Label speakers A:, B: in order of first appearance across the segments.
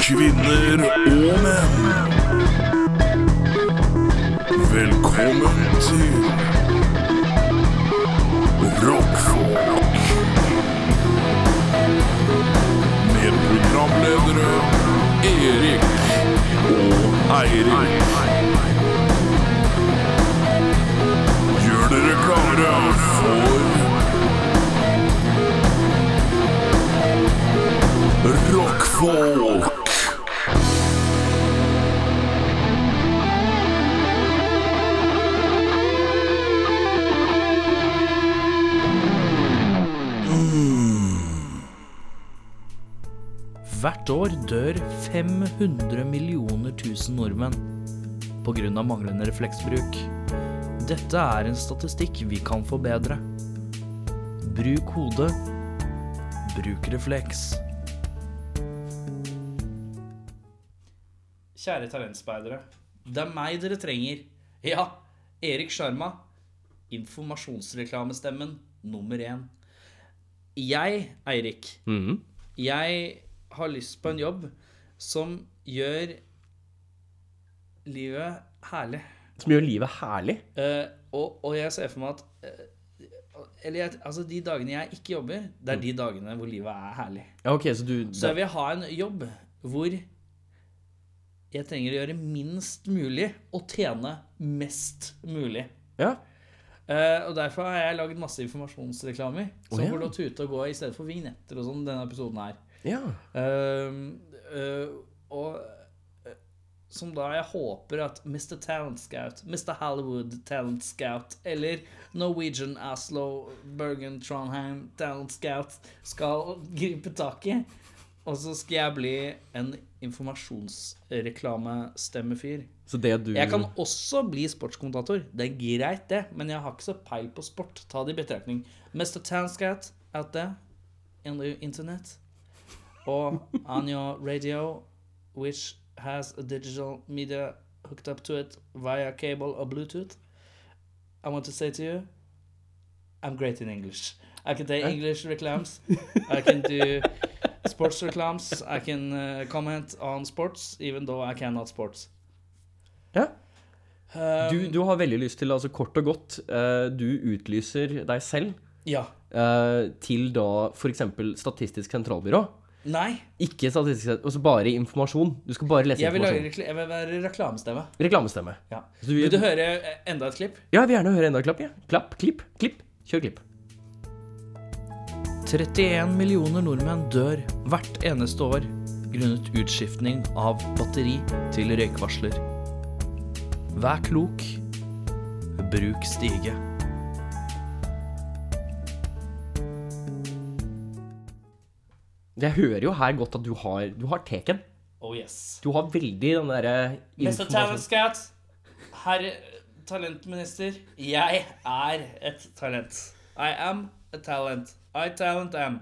A: kvinner og menn. Velkommen til Rockfolk. Med programledere Erik og Eirik. Gjør dere klare for Rockfolk.
B: Hvert år dør 500 millioner tusen nordmenn pga. manglende refleksbruk. Dette er en statistikk vi kan forbedre. Bruk hodet. Bruk refleks. Kjære talentspeidere. Det er meg dere trenger. Ja, Erik Sjarma. Informasjonsreklamestemmen nummer én. Jeg, Eirik, jeg har lyst på en jobb som gjør livet herlig.
C: Som gjør livet herlig.
B: Eh, og, og jeg ser for meg at eh, Eller jeg, altså de dagene jeg ikke jobber, det
C: Mm.
B: er de dagene hvor livet er herlig.
C: Ja, ok, så du
B: Så jeg vil ha en jobb hvor jeg trenger å gjøre minst mulig og tjene mest mulig.
C: Ja.
B: Eh, og derfor har jeg lagd masse informasjonsreklamer som
C: Å, ja.
B: går til å tute og gå i stedet for vignetter og sånn denne episoden her.
C: ja.
B: Ehm, eh, og eh, som da jeg håper at Mr. Talent Scout, Mr. Hollywood Talent Scout eller Norwegian Oslo Bergen Trondheim Talent Scout skal gripe tak i. Og så skal jeg bli en informasjonsreklamestemmefyr.
C: Så det du
B: Jeg kan også bli sportskommentator. Det er greit, det, men jeg har ikke så peil på sport. Ta det i betraktning. Mr. Tanscat out there in the internet or on your radio, which has a digital media hooked up to it via cable or Bluetooth, I want to say to you, I'm great in English. I can do English reclams. I can do sports reclams. I can uh, comment on sports, even though I cannot sports.
C: Ja.
B: Um,
C: Du, du har veldig lyst til, altså kort og godt, eh, du utlyser deg selv
B: Ja.
C: eh, til da f.eks. Statistisk sentralbyrå.
B: Nei,
C: Ikke statistisk sen- altså bare informasjon. Du skal bare lese
B: jeg vil, lage
C: informasjon.
B: rekl jeg vil være reklamestemme.
C: Reklamestemme.
B: Ja.
C: Så du-
B: Vil du høre eh, enda et klipp?
C: Ja, jeg vil gjerne høre enda et klapp. Ja. Klapp, klipp, klipp. Kjør klipp.
B: 31 millioner nordmenn dør hvert eneste år grunnet utskiftning av batteri til røykvarsler. Vær klok. Bruk stige.
C: Jeg hører jo her godt at du har, du har teken.
B: Oh yes.
C: Du har veldig den derre
B: Mr. Talent Scout, herr talentminister, jeg er et talent. I am a talent. I talent am.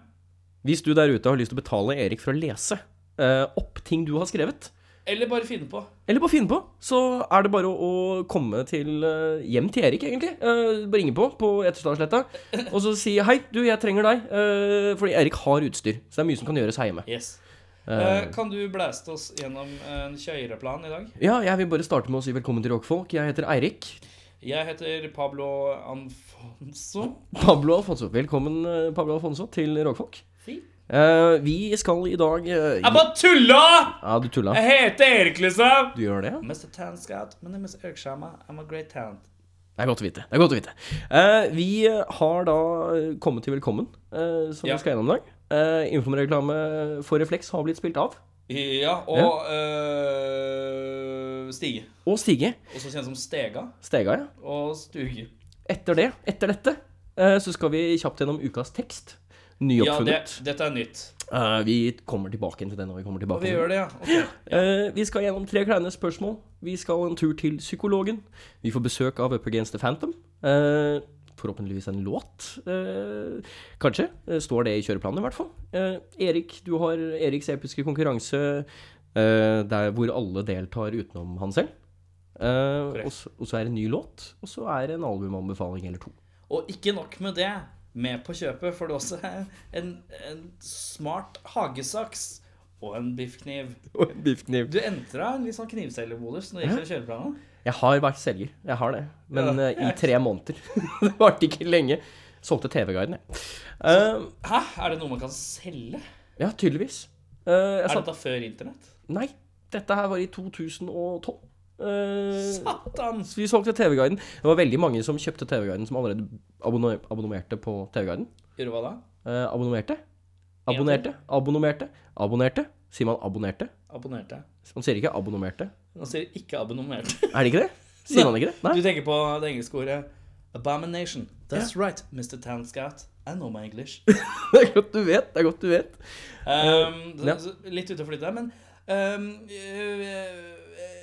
C: Hvis du der ute har lyst til å betale Erik for å lese eh, opp ting du har skrevet,
B: Eller bare finne på.
C: eller bare finne på, så er det bare å, å komme til, eh, hjem til Erik, egentlig. Eh, bare ringe på på Etterstadsletta og så si 'hei, du, jeg trenger deg', eh, fordi Erik har utstyr. Så det er mye som kan gjøres her hjemme.
B: Yes. Eh, kan du blæste oss gjennom en kjøreplan i dag?
C: Ja, jeg vil bare starte med å si velkommen til Rockfolk. Jeg heter Eirik.
B: Jeg heter Pablo Anfonso.
C: Pablo Alfonso. Velkommen, eh, Pablo Alfonso, til Rockfolk.
B: Fy.
C: Eh, vi skal i dag eh,
B: Jeg bare tulla!
C: Ja, du tulla.
B: Jeg heter Erik, liksom.
C: Du gjør det? ja?
B: Mr. Talent Scout, my name is Erik Sharma. I'm a great talent.
C: Det er godt å vite. det er godt å vite. Eh, vi har da kommet til velkommen, eh, som
B: Ja.
C: vi skal gjennom i dag. Uh, Informreklame for refleks har blitt spilt av.
B: Ja, og øh, Stige.
C: Og Stige.
B: Også kjent som Stega
C: Stega, ja.
B: og Stuge.
C: Etter det, etter dette, eh, så skal vi kjapt gjennom ukas tekst.
B: Ja, det,
C: Nyoppfunnet.
B: dette er nytt.
C: Eh, vi kommer tilbake til det når vi kommer tilbake.
B: Og vi
C: til det.
B: gjør det, ja. Ok.
C: Eh, vi skal gjennom tre kleine spørsmål. Vi skal en tur til psykologen. Vi får besøk av Up Against the Phantom. Eh, forhåpentligvis en låt. Eh, kanskje. Eh, står det i kjøreplanen, i hvert fall. Eh, Erik, du har Eriks episke konkurranse eh, der hvor alle deltar utenom han selv. Eh, og så og så er det en ny låt, og så er det en albumanbefaling eller to.
B: Og ikke nok med det. Med på kjøpet får du også en, en smart hagesaks og en biffkniv.
C: Og en biffkniv.
B: Du entra en litt sånn knivselgerbonus når du gikk til kjøreplanen.
C: Jeg har vært selger, jeg har det. Men
B: Ja.
C: eh, i tre måneder. det varte ikke lenge. Solgte TV-guiden, jeg. Eh,
B: Hæ? Er det noe man kan selge?
C: ja, tydeligvis. Eh, jeg
B: Er
C: sa
B: dette før internett?
C: Nei, dette her var i 2012. Eh,
B: Satan!
C: så vi solgte TV-guiden. Det var veldig mange som kjøpte TV-guiden, som allerede abonner abonnerte på TV-guiden.
B: Gjorde hva da?
C: Eh, abonnerte. Abonnerte. Abonnerte. Abonnerte. Sier man abonnerte?
B: Abonnerte.
C: Man sier ikke abonnomerte.
B: Han sier ikke abonnement.
C: Er det ikke det? Sier man ikke det? Nei.
B: Du tenker på det engelske ordet abomination. That's right, Mr. Tanscat. I know my English.
C: Det er godt du vet. Det er godt du vet.
B: Um,
C: Ja.
B: så- så Litt ute å flytte der, men um, øh, øh, øh,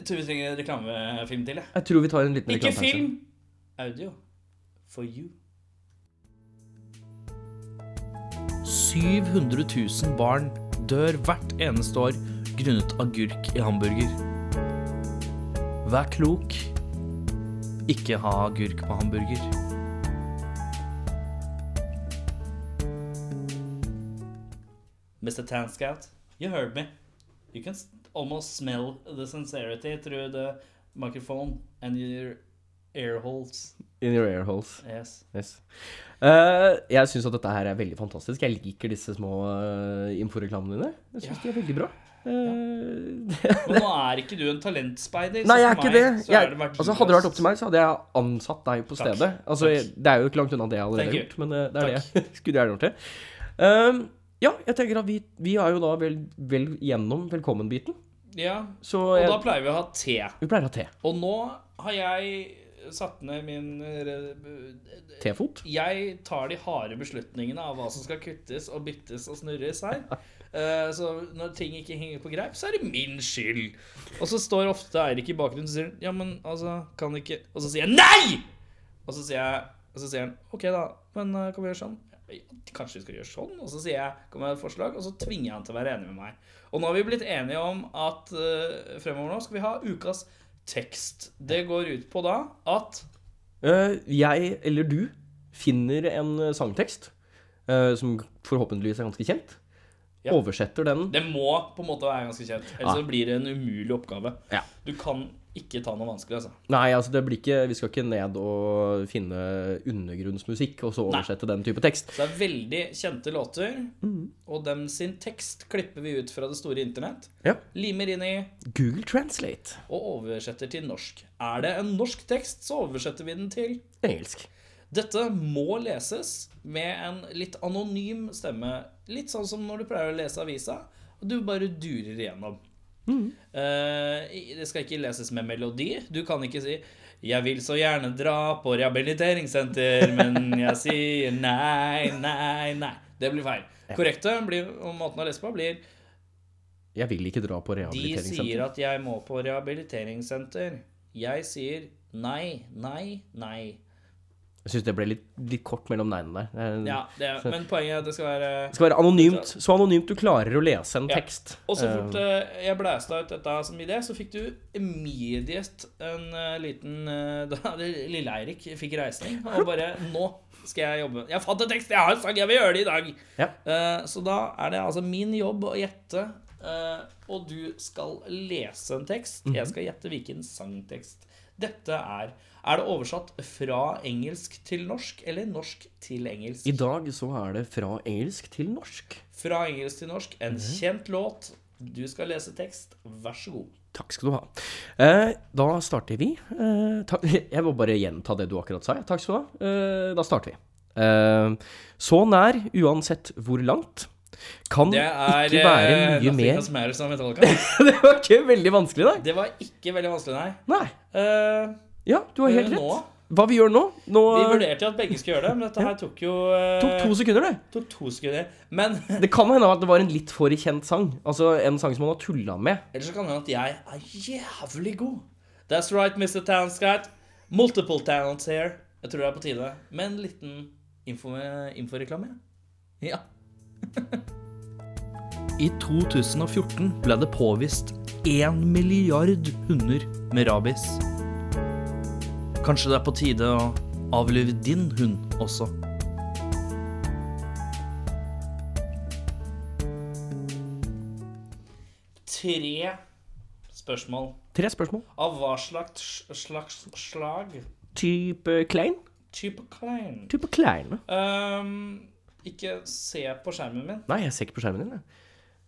B: Jeg tror vi trenger en reklamefilm til, jeg.
C: Jeg tror vi tar en liten
B: Ikke
C: reklame, kanskje.
B: film! Audio. For you. 700 000 barn dør hvert eneste år grunnet agurk i hamburger. Vær klok. Ikke ha agurk på hamburger. Mr. Tanscat, you heard me. You can s- almost smell the sincerity through the microphone and your air holes.
C: In your air holes.
B: Yes.
C: Yes. Eh, jeg syns at dette her er veldig fantastisk. Jeg liker disse små eh, inforeklamene dine. Jeg syns de er veldig bra. Eh,
B: Men nå er ikke du en talentspeider. så
C: Nei, jeg er
B: for
C: ikke det.
B: meg så er
C: Jeg,
B: det verdiløst.
C: altså, hadde det vært opp til meg, så hadde jeg ansatt deg på
B: Takk.
C: stedet. Altså,
B: Takk.
C: jeg- Det er jo ikke langt unna det jeg allerede
B: Thank
C: har
B: you.
C: gjort, men eh, det er
B: Takk.
C: det jeg skulle gjerne gjort. det Ehm, Ja, jeg tenker at vi, vi er jo da vel, vel gjennom velkommen-biten.
B: Ja,
C: Så
B: og
C: jeg,
B: da pleier vi å ha te.
C: vi pleier å ha te.
B: Og nå har jeg satt ned min eh,
C: Tefot.
B: jeg tar de harde beslutningene av hva som skal kuttes og byttes og snurres her. Eh, Så når ting ikke henger på greip, så er det min skyld. Og så står ofte Eirik i bakgrunnen og sier Ja, men altså, kan ikke Og så sier jeg nei! Og så sier, jeg, og så sier han OK, da, men eh, kan vi gjøre sånn? «Ja, Kanskje vi skal gjøre sånn? Og så sier jeg kom med et forslag, og så tvinger han til å være enig med meg. Og nå har vi blitt enige om at eh, fremover nå skal vi ha ukas tekst. Det går ut på da at
C: Eh, jeg, eller du, finner en eh, sangtekst eh, som forhåpentligvis er ganske kjent.
B: Ja.
C: Oversetter den.
B: Det må på en måte være ganske kjent, ellers
C: Ja.
B: så blir det en umulig oppgave.
C: Ja.
B: Du kan ikke ta noe vanskelig, altså.
C: Nei, altså det blir ikke, vi skal ikke ned og finne undergrunnsmusikk og så oversette den type tekst.
B: Så det er veldig kjente låter,
C: Mhm.
B: og dem sin tekst klipper vi ut fra det store internett,
C: Ja.
B: limer inn i
C: Google Translate.
B: og oversetter til norsk. Er det en norsk tekst, så oversetter vi den til
C: Engelsk.
B: Dette må leses med en litt anonym stemme. Litt sånn som når du pleier å lese avisa, og du bare durer igjennom. Eh, i- det skal ikke leses med melodi. Du kan ikke si 'Jeg vil så gjerne dra på rehabiliteringssenter', men jeg sier nei, nei, nei. Det blir feil. Korrekte blir, og måten å lese på blir
C: Jeg vil ikke dra på
B: de sier
C: rehabiliteringssenter.
B: at jeg må på rehabiliteringssenter. Jeg sier nei, nei, nei.
C: Jeg syns det ble litt, litt kort mellom neglene der. Eh,
B: Ja, det, er- men poenget er at det skal være
C: Det skal være anonymt, så anonymt du klarer å lese en
B: Ja.
C: tekst.
B: Og så
C: Eh,
B: fort eh, jeg blæsta ut dette som idé, så fikk du immediate en eh, liten eh, Da Lille Eirik fikk reisning og bare Nå skal jeg jobbe. Jeg fant en tekst! Jeg har en sang! Jeg vil gjøre det i dag!
C: Ja.
B: Eh, så da er det altså min jobb å gjette, eh, og du skal lese en tekst.
C: Mhm.
B: Jeg skal gjette hvilken sangtekst dette er. Er det oversatt fra engelsk til norsk, eller norsk til engelsk?
C: I dag så er det fra engelsk til norsk.
B: Fra engelsk til norsk, en
C: Mhm.
B: kjent låt. Du skal lese tekst. Vær så god.
C: Takk skal du ha. Eh, da starter vi. Eh, ta, jeg må bare gjenta det du akkurat sa. ja. Takk skal du ha. Eh, da starter vi. Eh, så nær, uansett hvor langt, kan
B: Det er
C: Hm. ikke være
B: eh,
C: mye
B: Nothing
C: mer
B: Else Matters av Metallica.
C: Det var ikke veldig vanskelig, da.
B: Det var ikke veldig vanskelig, nei.
C: Nei.
B: Eh,
C: Ja, du har helt
B: Eh,
C: rett.
B: nå?
C: Hva vi gjør nå? Nå
B: vi vurderte jo at begge skulle gjøre det, men dette her tok jo eh,
C: tok to sekunder, det.
B: tok to sekunder. Men
C: Det kan hende at det var en litt for kjent sang. Altså en sang som man har tulla med.
B: ellers så kan det hende at jeg er jævlig god. That's right, Mr. Tanscat. Multiple talents here. Jeg tror det er på tide med en liten info- inforeklame. ja. I 2014 ble det påvist 1 milliard hunder med rabies. Kanskje det er på tide å avlive din hund også. tre spørsmål.
C: Tre spørsmål.
B: Av hva slags, slags slag?
C: Type klein?
B: Type klein.
C: Type klein. da.
B: Ehm, ikke se på skjermen min.
C: Nei, jeg ser ikke på skjermen din. Jeg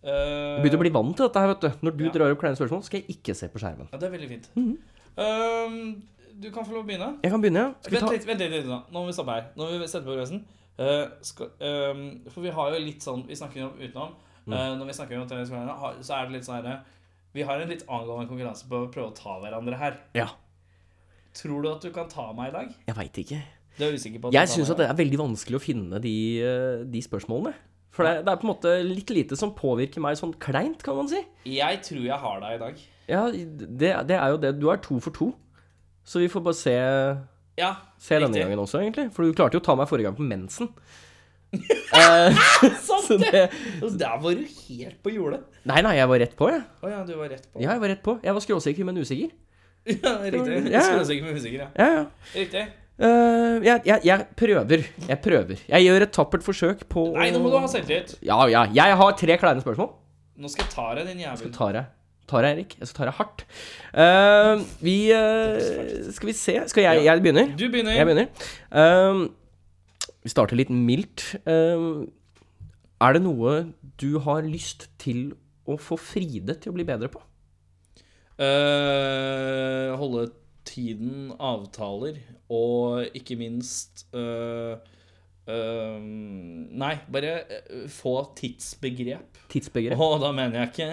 B: Uh,
C: Jeg begynner å bli vant til dette her, vet du. Når du
B: Ja.
C: drar opp kleine spørsmål, skal jeg ikke se på skjermen.
B: Ja, det er veldig fint.
C: Mhm.
B: Ehm, du kan få lov å begynne.
C: Jeg kan begynne. ja. Skal vi
B: Vent
C: ta
B: litt, vent litt, litt, da. nå må vi stoppe her. Nå må vi sette på bremsen. Eh, skal, ehm, for vi har jo litt sånn Vi snakker jo om utenom.
C: Mm.
B: Eh, når vi snakker om treningskonkurranse, har- så er det litt sånn her Vi har en litt angående konkurranse på å prøve å ta hverandre her.
C: Ja.
B: Tror du at du kan ta meg i dag?
C: Jeg veit ikke.
B: Det er jeg usikker på. at du
C: Jeg
B: tar
C: syns
B: meg
C: at
B: i
C: det er veldig vanskelig å finne de, eh, de spørsmålene. For det, det er på en måte litt lite som påvirker meg sånn kleint, kan man si.
B: dag. Jeg tror jeg har deg i dag.
C: Ja, det, det er jo det. Du er to for to. Så vi får bare se,
B: Ja,
C: se denne
B: riktig.
C: gangen også, egentlig. For du klarte jo å ta meg forrige gang på mensen. Eh, så
B: Sant det!
C: det
B: Altså, Der var du helt på jordet.
C: Nei, nei, jeg var rett på, jeg.
B: Å ja, du var rett på.
C: Ja, jeg var rett på. Jeg var skråsikker, men usikker.
B: Ja, riktig.
C: Ja.
B: Jeg skulle sikkert bli usikker, ja.
C: Ja, ja.
B: Riktig.
C: Eh, jeg, jeg, jeg prøver. Jeg prøver. Jeg gjør et tappert forsøk på å-
B: Nei, nå må du ha selvtillit.
C: Ja, ja. Jeg har tre kleine spørsmål.
B: Nå skal jeg ta deg, din jævel.
C: Jeg tar deg. Tar deg, Erik. Jeg skal ta deg hardt. Eh, vi eh, Skal vi se. Skal jeg, jeg begynner?
B: Du begynner.
C: Jeg begynner. Ehm, vi starter litt mildt. Ehm, er det noe du har lyst til å få Fride til å bli bedre på?
B: Eh, holde tiden, avtaler og ikke minst eh, eh, Nei, bare eh, få tidsbegrep.
C: Tidsbegrep.
B: Og da mener jeg ikke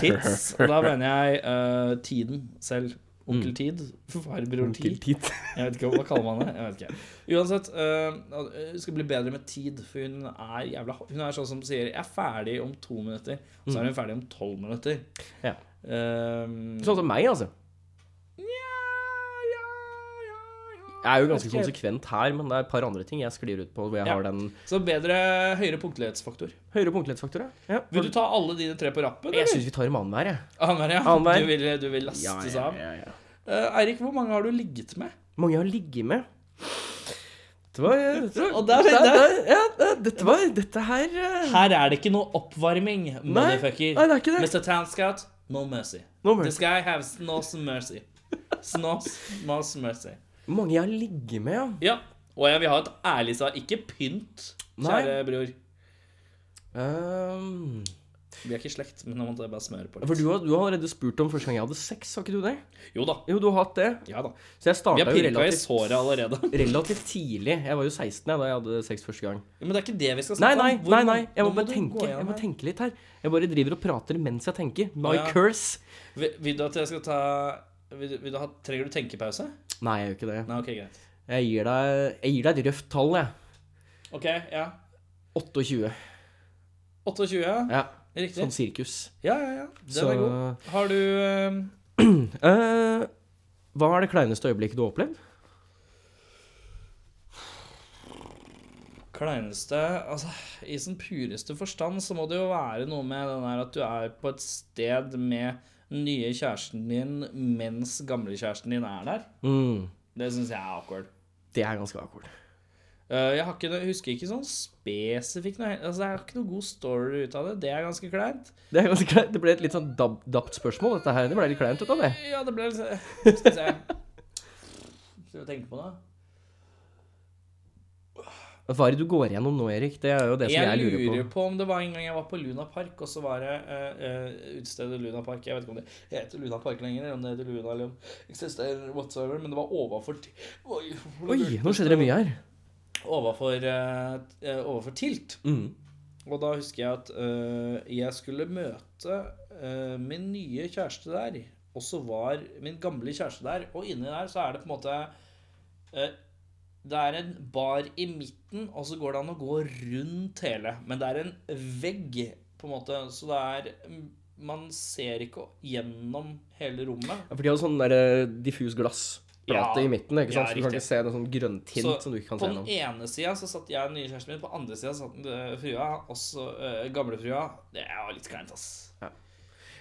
B: tids. Da mener jeg eh, tiden selv. Onkel Tid. Farbror
C: Onkel
B: Tid.
C: Tid.
B: Jeg vet ikke hva kaller man det. Jeg vet ikke. Uansett, øh, hun skal bli bedre med tid, for hun er jævla Hun er sånn som sier 'jeg er ferdig om to minutter', og så er hun ferdig om tolv minutter.
C: Ja.
B: Ehm,
C: Sånn som meg, altså.
B: ja, ja, ja, ja.
C: Jeg er jo
B: Vet
C: ganske
B: ikke
C: konsekvent her, men det er et par andre ting jeg sklir ut på hvor jeg
B: Ja.
C: har den
B: Så bedre høyere punktlighetsfaktor.
C: høyere punktlighetsfaktor. Ja.
B: Vil du ta alle dine tre på rappen?
C: Jeg
B: eller?
C: syns vi tar dem annenhver, jeg.
B: Annenhver, ja.
C: Annenhver.
B: Du vil, du vil laste seg av. Eh, Eirik, hvor mange har du ligget med?
C: Mange jeg har ligget med. Det var, eh, det var,
B: Og der-
C: det-
B: der-
C: det- ja, det- dette var Dette her eh,
B: Her er det ikke noe oppvarming, motherfucker.
C: nei, det er ikke det.
B: Mr. Tanscout, no mercy.
C: No mercy.
B: This guy has no mercy. No, no mercy.
C: Mange jeg har ligget med, ja.
B: Ja, og jeg vil ha et ærlig svar. Ikke pynt, kjære bror.
C: Ehm,
B: Vi er ikke i slekt, men nå måtte jeg bare smøre på
C: For
B: litt.
C: du har, du har allerede spurt om første gang jeg hadde sex, har ikke du det?
B: Jo da.
C: Jo, du har hatt det.
B: Ja da.
C: Så jeg
B: Vi
C: starta
B: har
C: jo
B: pirka i
C: relativt,
B: såret allerede.
C: relativt tidlig. Jeg var jo 16 jeg, da jeg hadde sex første gang.
B: Men det er ikke det vi skal
C: Nei,
B: snakke
C: nei,
B: om.
C: nei, nei. jeg
B: nå
C: må bare
B: du
C: tenke,
B: gå
C: jeg
B: gjennom
C: må
B: her.
C: tenke litt her. Jeg bare driver og prater mens jeg tenker. My
B: Ja.
C: curse.
B: Vil, vil du at jeg skal ta vil, du- vil du ha, Trenger du tenkepause?
C: Nei, jeg gjør ikke det.
B: Nei, OK, greit.
C: Jeg gir deg, jeg gir deg et røft tall, jeg.
B: OK, ja.
C: 28.
B: 28, ja.
C: Ja,
B: Riktig.
C: sånn sirkus.
B: Ja, ja, ja. Den
C: Så
B: er god. Har du ehm,
C: eh, Hva er det kleineste øyeblikket du har opplevd?
B: kleineste Altså, i sin pureste forstand så må det jo være noe med den der at du er på et sted med den nye kjæresten din mens gamlekjæresten din er der.
C: Mm,
B: Det syns jeg er awkward.
C: det er ganske akkurat.
B: Eh, Jeg har ikke, noe- husker ikke sånn spesifikt noe Altså, jeg har ikke noe god story ut av det. Det er ganske kleint.
C: Det, er ganske kleint. det ble et litt sånn dab, dapt spørsmål, dette her. Det ble litt kleint ut av det.
B: Ja, det ble litt så- Skal vi se. Skal vi tenke på det?
C: Hva er det du går gjennom nå, Erik? Det er jo det som jeg,
B: Jeg
C: lurer på.
B: lurer på om det var en gang jeg var på Luna Park, og så var det eh, eh, utestedet Luna Park. Jeg vet ikke om det heter Luna Park lenger, eller om det heter Luna eller om eksisterer whatsoever, men det var overfor Ti- Oi,
C: Oi, nå skjedde det mye her.
B: Overfor, eh, t- eh, overfor Tilt.
C: Mm.
B: Og da husker jeg at eh, jeg skulle møte eh, min nye kjæreste der, og så var min gamle kjæreste der, og inni der så er det på en måte eh, det er en bar i midten, og så går det an å gå rundt hele. Men det er en vegg, på en måte, så det er mm, Man ser ikke gjennom hele rommet.
C: For de har sånn der eh, diffus glassplate
B: Ja.
C: i midten, ikke
B: Ja,
C: sant? så du kan
B: riktig.
C: ikke se det sånn grønntint
B: Så
C: som du ikke
B: på
C: kan se
B: den e-
C: gjennom.
B: ene sida så satt jeg og den nye kjæresten min, på den andre sida satt eh, frua, også eh, gamlefrua. Det var litt kleint, ass.
C: Ja,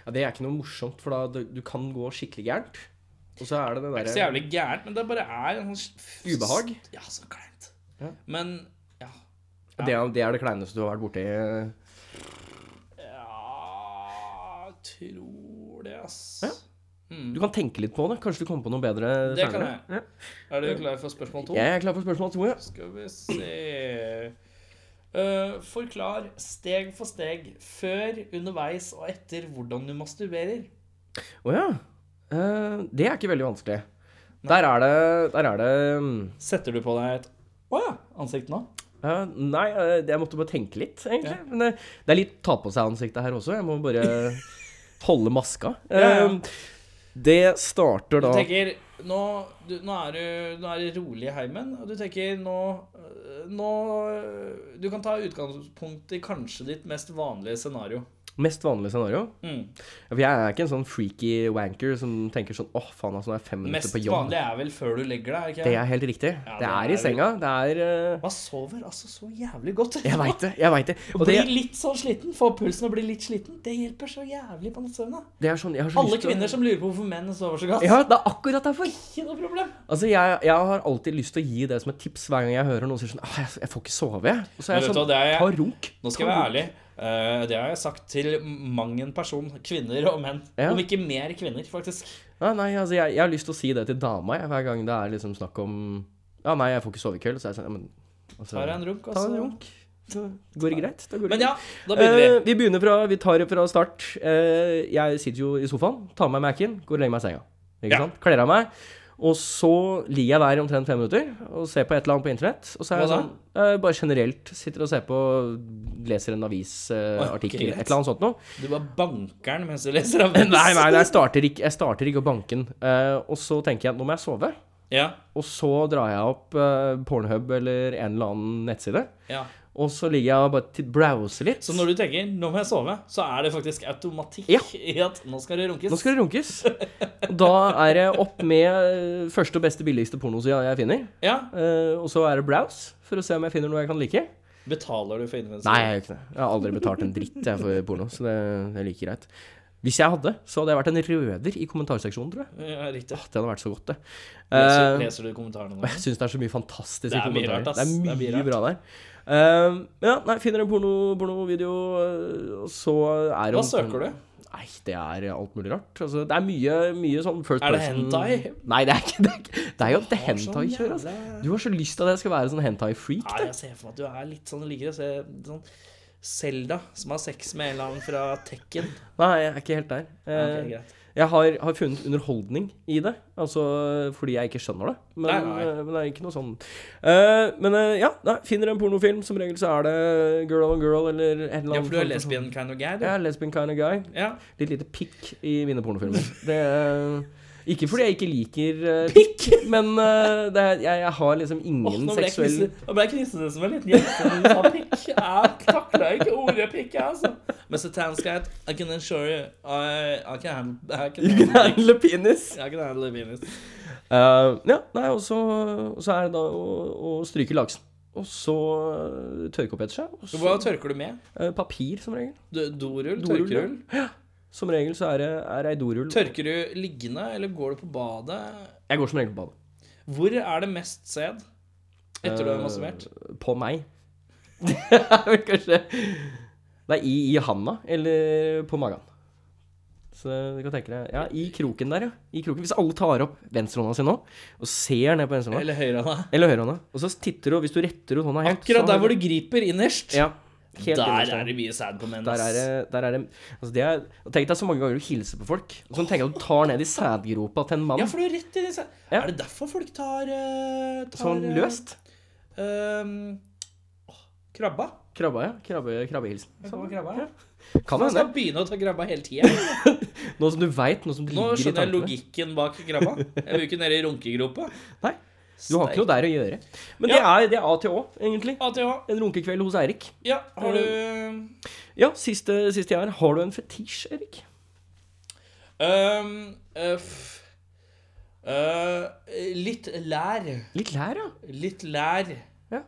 C: det er ikke noe morsomt, for da du, du kan gå skikkelig gærent. Og så er det
B: Det
C: det
B: er ikke så
C: derre
B: jævlig gærent, men det bare er en sånn
C: Ubehag?
B: Ja, så kleint.
C: Ja.
B: Men ja.
C: det, er- det er det kleineste du har vært borti.
B: ja tror det, ass.
C: Ja. Du kan tenke litt på det. Kanskje du kommer på noe bedre
B: Mm. Det kan
C: senere. Ja.
B: Er du klar for spørsmål to?
C: Jeg er klar for spørsmål to, ja.
B: Skal vi se Eh, Forklar steg for steg, før, underveis og etter, hvordan du masturberer.
C: Å ja. Eh, det er ikke veldig vanskelig. Der er det, der er det mm,
B: Setter du på deg et Å ja! Ansikt nå?
C: eh, Nei, eh, jeg måtte bare tenke litt, egentlig. Men eh, det er litt ta på seg-ansiktet her også. Jeg må bare holde maska.
B: Ja, ja.
C: Eh, det starter
B: Du
C: da
B: tenker nå, du, nå, er du, nå er det rolig i heimen, og du tenker nå, øh, nå øh, Du kan ta utgangspunkt i kanskje ditt mest vanlige scenario.
C: mest vanlige scenario.
B: Mm.
C: Ja, For jeg er ikke en sånn freaky wanker som tenker sånn åh, faen, altså, nå er jeg fem minutter
B: Mest
C: på jobb.
B: vanlig er vel før du legger deg?
C: Det
B: ikke
C: er helt riktig.
B: Ja,
C: det,
B: det
C: er,
B: er
C: i senga. Det er eh,
B: Man sover altså så jævlig godt.
C: Jeg veit det. Jeg veit det. Og det,
B: Blir litt sånn sliten, Få pulsen og bli litt sliten. Det hjelper så jævlig på nattsøvna.
C: det er sånn jeg har så
B: Alle
C: lyst til å-
B: kvinner som lurer på hvorfor menn sover så godt.
C: Ja, det er akkurat derfor.
B: Ikke noe problem.
C: Altså, jeg, jeg har alltid lyst til å gi det som et tips hver gang jeg hører noen si sånn «Ah, jeg, jeg får ikke sove, jeg. Og
B: Men
C: så er
B: vet
C: jeg
B: du
C: sånn
B: hva, det er-
C: Ta runk.
B: Nå skal jeg være ærlig. Eh, det har jeg sagt til mang en person. Kvinner og menn.
C: Ja.
B: Om ikke mer kvinner, faktisk.
C: Ja, nei, altså, jeg, jeg har lyst til å si det til dama jeg, hver gang det er liksom snakk om Ja, nei, jeg får ikke sove i kveld. Så er jeg sånn ja, men, altså,
B: Tar jeg en runk,
C: ta en
B: altså.
C: runk. Så går det greit. Da går det
B: Men
C: greit.
B: ja, da begynner
C: Eh, vi begynner fra, vi tar det fra start. Eh, jeg sitter jo i sofaen, tar med meg Mac-en, går og legger meg i senga. Ikke
B: Ja.
C: sant? Kler av meg. Og så ligger jeg der i omtrent fem minutter og ser på et eller annet på internett. Og så er jeg
B: Hva
C: sånn, eh, bare generelt sitter og ser på, leser en avisartikkel,
B: greit.
C: et eller annet sånt noe.
B: vi. Du bare banker den mens du leser avis.
C: Nei, nei, nei, jeg starter ikke, jeg starter ikke å banke den. Eh, og så tenker jeg at nå må jeg sove.
B: Ja,
C: Og så drar jeg opp eh, Pornhub eller en eller annen nettside.
B: ja.
C: Og så ligger jeg og bare til- browser litt.
B: Så når du tenker 'nå må jeg sove', så er det faktisk automatikk
C: Ja.
B: i at 'nå skal det runkes'.
C: Nå skal det runkes. Og Da er det opp med eh, første og beste billigste pornosida jeg finner.
B: Ja.
C: Eh, og så er det browse, for å se om jeg finner noe jeg kan like.
B: Betaler du for innvendelsen?
C: Nei, jeg gjør ikke det. Jeg har aldri betalt en dritt jeg for porno, så det, det er like greit. Hvis jeg hadde, så hadde jeg vært en røver i kommentarseksjonen, tror jeg.
B: Ja, riktig.
C: Åh, det hadde vært så godt, det.
B: Leser,
C: Eh,
B: leser du kommentarene nå?
C: jeg syns det er så mye fantastisk
B: Det
C: i
B: er mye
C: kommentarer.
B: rart, ass.
C: Det er mye,
B: Det er mye
C: bra der. Eh, ja, nei, finner en porno, pornovideo, eh, og så er det
B: Hva søker du?
C: Nei, det er alt mulig rart. Altså, det er mye, mye sånn first
B: Er det
C: person
B: hentai?
C: Nei, det er ikke det. Er, ikke- det er jo det hentai-kjøret. Altså.
B: sånn jævla-
C: Du har så lyst til at jeg skal være sånn hentai-freak.
B: Nei, jeg ser for meg at du er litt sånn liker å se sånn Selda som har sex med en eller annen fra Tekken.
C: Nei, jeg er ikke helt der. Eh,
B: Ok, greit.
C: jeg har, har funnet underholdning i det, altså fordi jeg ikke skjønner det. Men,
B: Nei, nei.
C: eh, men det er ikke noe sånn Eh, Men eh, ja, nei, finner en pornofilm, som regel så er det girl on girl eller en eller annen
B: Ja, for du er
C: form for sånn-
B: lesbian kind of guy, du.
C: Jeg er lesbian kind of guy.
B: Ja.
C: Litt lite pikk i mine pornofilmer. Det er ikke fordi jeg ikke liker pikk, men eh, det er, jeg, jeg har liksom
B: Åh,
C: ingen
B: nå ble jeg
C: seksuell
B: knisse- nå ble jeg knissende som en liten jente når du sa pikk. Jeg takla ikke ordet pikk, jeg, altså. Mr. Tanscat, I can assure you I, I can handle I can handle dick.
C: Grænle penis.
B: I can handle penis.
C: Eh, ja, nei, og så, og så er det da å, å stryke laksen. Og så eh, tørke opp etter seg. Og så
B: Hva tørker du med?
C: eh, papir, som regel.
B: Du, dorull?
C: Dorull, ja.
B: Tørkerull?
C: Som regel så er det er ei dorull.
B: Tørker du liggende, eller går du på badet?
C: Jeg går som regel på badet.
B: Hvor er det mest sæd etter du har masturbert?
C: På meg. Det er vel kanskje Det er i, i handa eller på magen. Så du kan tenke deg Ja, i kroken der, ja. I kroken. Hvis alle tar opp venstrehånda si nå, og ser ned på venstrehånda,
B: Eller høyrehånda?
C: eller høyrehånda, og så titter du, og hvis du retter ut hånda helt
B: Akkurat der hvor du griper innerst.
C: Ja. Helt
B: der
C: innerst.
B: er det mye sæd på menn.
C: Der er det, der er det altså det er, Tenk deg så mange ganger du hilser på folk, og så tenker jeg at du tar ned i sædgropa til en mann
B: Ja, for du er rett i den sæd...
C: Ja.
B: Er det derfor folk tar, eh, tar
C: sånn
B: eh,
C: løst.
B: ehm, åh, krabba.
C: Krabba, ja. Krabbe, krabbehilsen.
B: Sånn, krabba.
C: ja.
B: ja.
C: Kan
B: Man
C: hende.
B: skal begynne å ta krabba hele tida.
C: Nå som du veit, nå som det
B: Nå
C: ligger i
B: skjønner jeg
C: tankene.
B: logikken bak krabba. Jeg vil jo ikke ned i runkegropa.
C: Nei. Du har ikke noe der å gjøre. Men
B: Ja.
C: det, er, det er A til Å, egentlig.
B: ATH.
C: En runkekveld hos Eirik.
B: Ja, har du
C: Ja, siste, siste jeg har. Har du en fetisj, Erik?
B: ehm, eh, f- eh, Litt lær.
C: Litt lær, ja.
B: Litt lær.
C: Ja.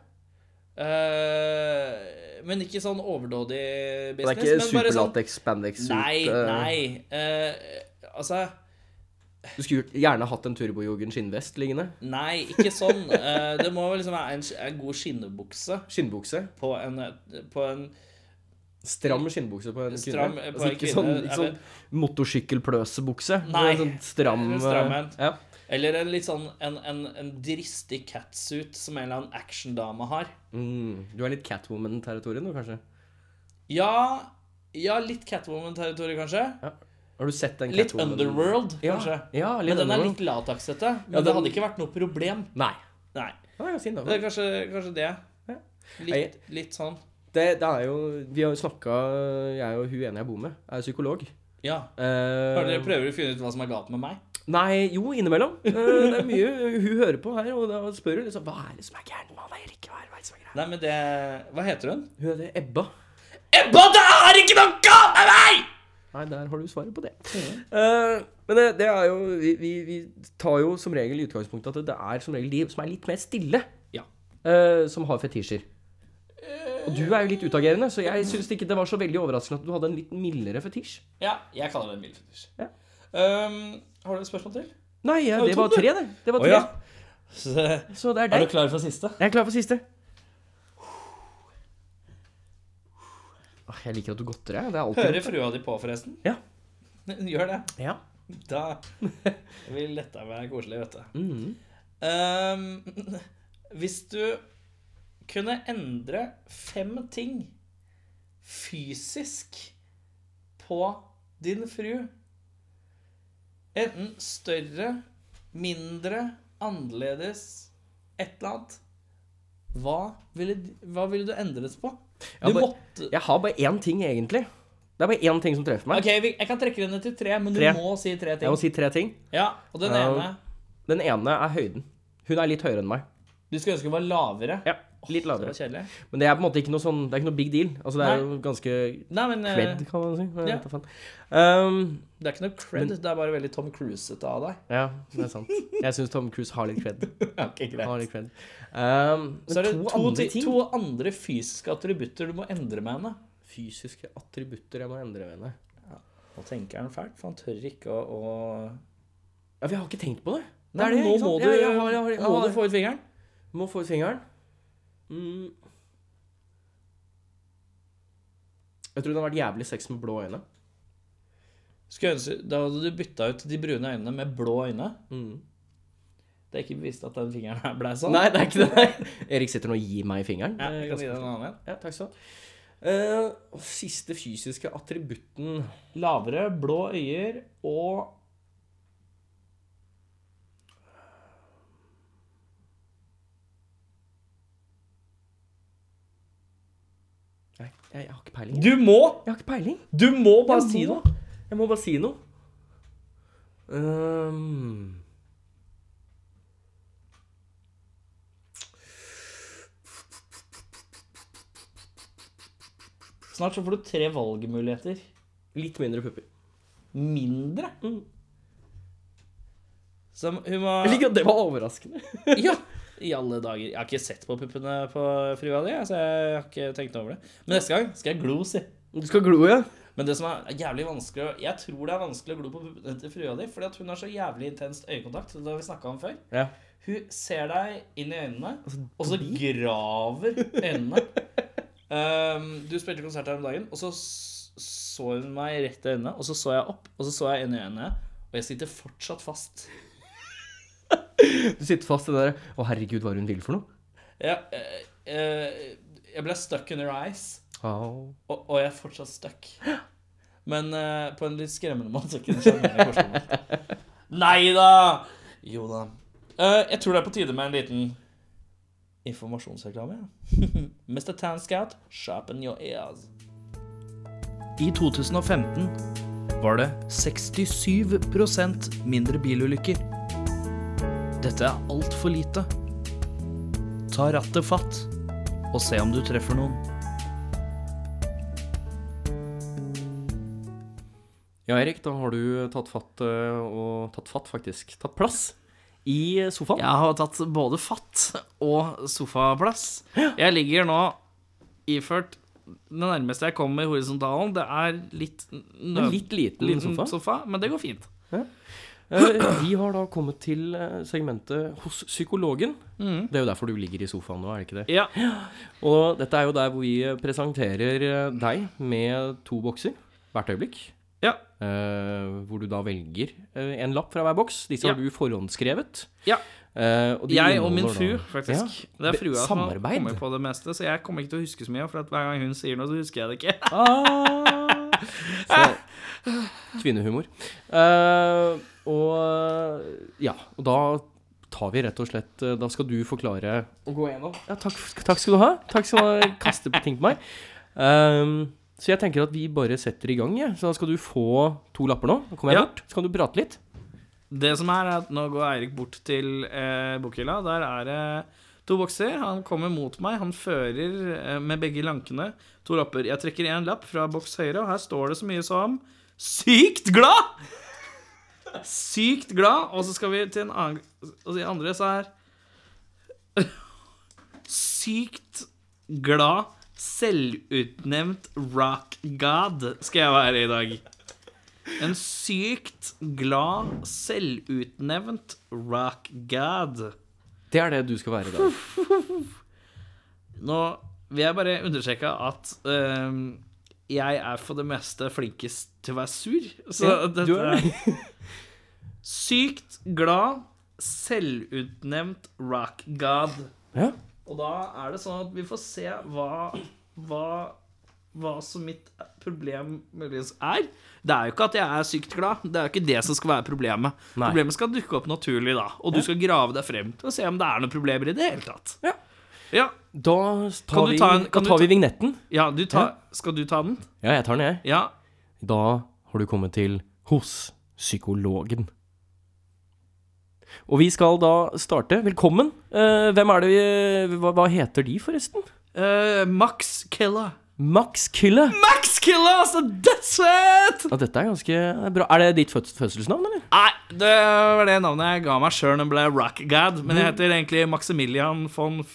B: Eh, men ikke sånn overdådig
C: Det
B: business.
C: er ikke
B: men bare sånn
C: superlatex, spandex
B: Nei,
C: suit, eh,
B: nei. eh, altså
C: Du skulle gjort- gjerne hatt en turbojogen skinnvest liggende.
B: Nei, ikke sånn. Eh, det må vel liksom være en, en god skinnebukse
C: Skinnbukse.
B: på en, på en
C: Stram skinnbukse på en
B: Stram
C: kvinne.
B: på en
C: altså, ikke
B: kvinne,
C: sånn,
B: er
C: ikke sånn
B: det-
C: motorsykkelpløsebukse.
B: Nei,
C: Det er Sånn stram,
B: en stram en.
C: Ja.
B: Eller en litt sånn en, en, en dristig catsuit som en eller annen actiondame har.
C: Mm, du er litt Catwoman-territorien, du, kanskje?
B: Ja, ja litt Catwoman-territorium, kanskje.
C: Ja. Har du sett den
B: Litt
C: Catwoman-
B: Underworld,
C: Ja,
B: kanskje.
C: ja, litt
B: men den er
C: Underworld.
B: litt lateksete. Men
C: Ja,
B: det
C: den-
B: hadde ikke vært noe problem.
C: Nei.
B: Nei.
C: Ja, ja, fin, da.
B: Det er kanskje, kanskje det. Litt, litt sånn.
C: Det, det er jo Vi har jo snakka Jeg og hun ene jeg bor med, er psykolog.
B: Ja.
C: Eh,
B: Har dere prøver å finne ut hva som er galt med meg?
C: Nei, jo, innimellom. Eh, det er mye hun hører på her, og da spør hun liksom Hva er det som er gærent med han Erik? Hva er det som er gærent?
B: Nei, men det Hva heter hun?
C: Hun heter Ebba.
B: Ebba, det er ikke noe galt med meg!
C: Nei, der har du svaret på det. Eh, men det, det er jo vi, vi, vi tar jo som regel i utgangspunktet at det er som regel de som er litt mer stille,
B: Ja.
C: eh, som har fetisjer. Og du er jo litt utagerende, så jeg syns ikke det var så veldig overraskende at du hadde en litt mildere fetisj.
B: Ja, jeg kaller det en mild fetisj.
C: Ja.
B: Um, har du et spørsmål til?
C: Nei, ja,
B: Har du
C: det var
B: to, du?
C: tre, det. Det var
B: Å,
C: tre.
B: ja. Så, er
C: Så det er
B: du
C: deg.
B: klar for siste?
C: Jeg er klar for siste. Åh, Jeg liker at du godter deg. Det er alltid
B: Hører frua di på, forresten?
C: Ja.
B: Gjør det.
C: Ja.
B: Da vil dette være koselig, vet du.
C: Mm.
B: Um, hvis du kunne endre fem ting fysisk på din fru Enten større, mindre, annerledes, et eller annet. Hva ville, hva ville du endret på? Du
C: Ja, bare-
B: måtte
C: Jeg har bare én ting, egentlig. Det er bare én ting som treffer meg.
B: Ok, vi- Jeg kan trekke det ned til tre, men
C: Tre.
B: du må si tre ting.
C: Jeg må si tre ting.
B: Ja, Og den
C: Ja.
B: ene
C: Den ene er høyden. Hun er litt høyere enn meg.
B: Du skulle ønske hun var lavere.
C: Ja, litt
B: Det
C: lavere.
B: var kjedelig.
C: Men det er på en måte ikke noe sånn Det er ikke noe big deal. Altså, det er
B: Nei.
C: jo ganske
B: Nei, men eh,
C: cred, kan man si. Jeg
B: ja.
C: vet da faen. Um,
B: det er ikke noe cred. Det er bare veldig Tom Cruise-ete av deg.
C: ja, det er sant. Jeg syns Tom Cruise har litt cred.
B: Okay, greit.
C: Har litt cred. Um,
B: Så er det to,
C: men to andre
B: ti-
C: ting.
B: to andre fysiske attributter du må endre med henne.
C: Fysiske attributter jeg må endre ved henne.
B: Nå tenker han fælt, for han tør ikke å, å...
C: Ja, vi har ikke tenkt på det. Det
B: Nei,
C: er
B: nå
C: det, ikke sant?
B: må du,
C: Ja, jeg har- jeg har- jeg
B: må
C: har-
B: du få ut fingeren.
C: Må få ut fingeren. Mm. Jeg tror den har vært jævlig sex med blå øyne.
B: Skulle ønske, da hadde du bytta ut de brune øynene med blå øyne.
C: Mm.
B: Det er ikke bevisst at den fingeren her ble sånn.
C: Nei, det er ikke det. Erik sitter nå og gir meg fingeren.
B: Ja, jeg
C: Det er
B: kan gi deg
C: ganske-
B: en annen en.
C: ja, takk skal du ha. Eh, og siste fysiske attributten
B: Lavere, blå øyer og
C: Nei, jeg, jeg har ikke peiling. Jeg,
B: Du må!
C: jeg har ikke peiling.
B: Du må bare
C: Jeg
B: si
C: må-
B: noe!
C: Jeg må bare si noe. Ehm.
B: Snart så får du tre valgmuligheter.
C: litt mindre pupper.
B: Mindre?
C: Mm.
B: Så hun må
C: Jeg liker at det var overraskende.
B: Ja! I alle dager. Jeg har ikke sett på puppene på frua di, så jeg har ikke tenkt over det. Men neste gang skal jeg glo, si.
C: Du skal glo, ja?
B: Men det som er jævlig vanskelig å- Jeg tror det er vanskelig å glo på puppene til frua di, fordi at hun har så jævlig intens øyekontakt. Det har vi snakket om før.
C: Ja.
B: Hun ser deg inn i øynene, og så graver øynene. Um, du spilte konsert her om dagen, og så s- så hun meg rett i øynene. Og så så jeg opp, og så så jeg inn i øynene, og jeg sitter fortsatt fast.
C: Du sitter fast i det der Å, herregud, hva er hun vil for noe?
B: Jeg, eh, eh, jeg ble stuck under ice,
C: Au.
B: og, og jeg er fortsatt stuck. Men eh, på en litt skremmende måte. Ikke en sjarmerende korsmåte. Nei da! Jo da. Eh, jeg tror det er på tide med en liten informasjonsreklame. ja. Mr. Tan Scout, sharpen your ears. I 2015 var det 67 mindre bilulykker. Dette er altfor lite. Ta rattet fatt, og se om du treffer noen.
C: Ja, Erik, da har du tatt fatt eh, og tatt fatt, faktisk. Tatt plass i eh, sofaen.
B: Jeg har tatt både fatt og sofaplass. Jeg ligger nå iført det nærmeste jeg kommer horisontalen. Det er litt
C: En
B: nød...
C: litt liten,
B: Liten sofa.
C: sofa.
B: men det går fint.
C: Eh, Vi har da kommet til eh, segmentet hos psykologen. Det er jo derfor du ligger i sofaen nå, er det ikke det?
B: Ja.
C: Og dette er jo der hvor vi eh, presenterer eh, deg med to bokser hvert øyeblikk.
B: Ja.
C: Eh, hvor du da velger eh, en lapp fra hver boks. Disse har
B: Ja.
C: du forskrevet.
B: Ja.
C: Eh, og de
B: Jeg og min fru,
C: inneholder da-
B: faktisk.
C: Ja.
B: Det er frua som har
C: Samarbeid.
B: kommet på det meste, så jeg kommer ikke til å huske så mye. For at hver gang hun sier noe, så husker jeg det ikke.
C: Ah, så, kvinnehumor. Eh, og ja, og da tar vi rett og slett eh, Da skal du forklare
B: Å gå gjennom.
C: Ja, takk, takk skal du ha. Takk skal du ha. Kaste på ting på meg. Ehm, så jeg tenker at vi bare setter i gang, jeg. Så da skal du få to lapper nå. Nå kommer jeg
B: Ja.
C: bort, så kan du prate litt.
B: Det som er, er at nå går Eirik bort til eh, bokhylla. Der er det to bokser. Han kommer mot meg. Han fører eh, med begge lankene to lapper. Jeg trekker én lapp fra boks høyre, og her står det så mye som Sykt glad! Sykt glad. Og så skal vi til en annen Og de andre så er Sykt glad selvutnevnt rock god skal jeg være i dag. En sykt glad, selvutnevnt rock god.
C: Det er det du skal være i dag.
B: Nå vil jeg bare understreke at øhm, jeg er for det meste flinkest til å være sur. Så
C: Ja,
B: dette
C: du er-
B: er sykt glad, selvutnevnt rock god.
C: Ja.
B: Og da er det sånn at vi får se hva Hva, hva som mitt problem muligens er. Det er jo ikke at jeg er sykt glad. Det er jo ikke det som skal være problemet.
C: Nei.
B: Problemet skal dukke opp naturlig, da. Og du skal grave deg frem til å se om det er noen problemer i det hele tatt.
C: Ja.
B: Ja,
C: Da
B: Kan
C: tar
B: du
C: vi,
B: ta en- kan du
C: da tar vi
B: ta-
C: vignetten.
B: ja du tar, Skal du ta den?
C: Ja, jeg tar den, jeg.
B: Ja.
C: Da har du kommet til hos psykologen. Og vi skal da starte. Velkommen. Eh, hvem er det vi hva, hva heter de, forresten?
B: Eh, Max Killa.
C: Max Kille.
B: Max Killa, altså! Dødsfett!
C: Ja, dette er ganske bra. Er det ditt føds fødselsnavn, eller?
B: Nei, det var det navnet jeg ga meg sjøl da jeg ble rock god. Men
C: Mm.
B: jeg heter egentlig Maximilian von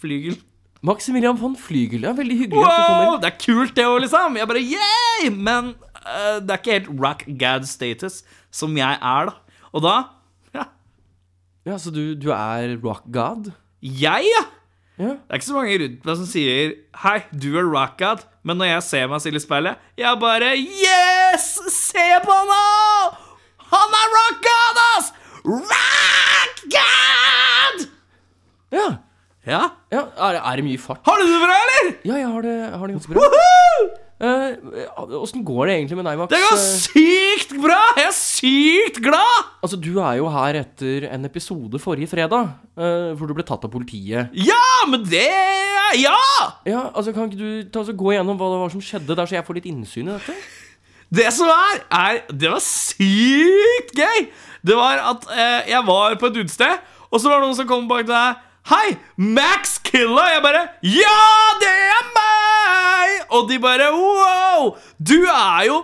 B: Flygel.
C: Maximilian von Flygel. Ja, veldig hyggelig at du
B: Wow,
C: kommer.
B: det er kult det òg, liksom. Jeg bare yeah! Men eh, det er ikke helt rock gad status som jeg er, da. Og da ja,
C: Ja, Så du, du er rock god?
B: Jeg, ja!
C: Ja.
B: Det er ikke så mange rundt meg som sier 'Hei, du er rock god', men når jeg ser meg selv i speilet, jeg bare Yes! Se på han nå! Han er rock god, ass! Rock god!
C: Ja,
B: Ja.
C: ja er, er det mye fart?
B: Har du det bra, eller?
C: Ja, jeg har det, jeg har det ganske bra. Eh,
B: Woohoo!
C: Åssen går det egentlig med deg, Max?
B: Det går
C: Eh,
B: sykt bra! Jeg er sykt glad!
C: altså, Du er jo her etter en episode forrige fredag, eh, hvor du ble tatt av politiet.
B: Ja, men det Ja!
C: Ja, altså, Kan ikke du ta, altså, gå igjennom hva det var som skjedde der, så jeg får litt innsyn i dette?
B: Det som er, er Det var sykt gøy! Det var at eh, jeg var på et utested, og så var det noen som kom bak til deg. Hei, Max Killa! Jeg bare Ja, det er meg! Og de bare Wow! Du er jo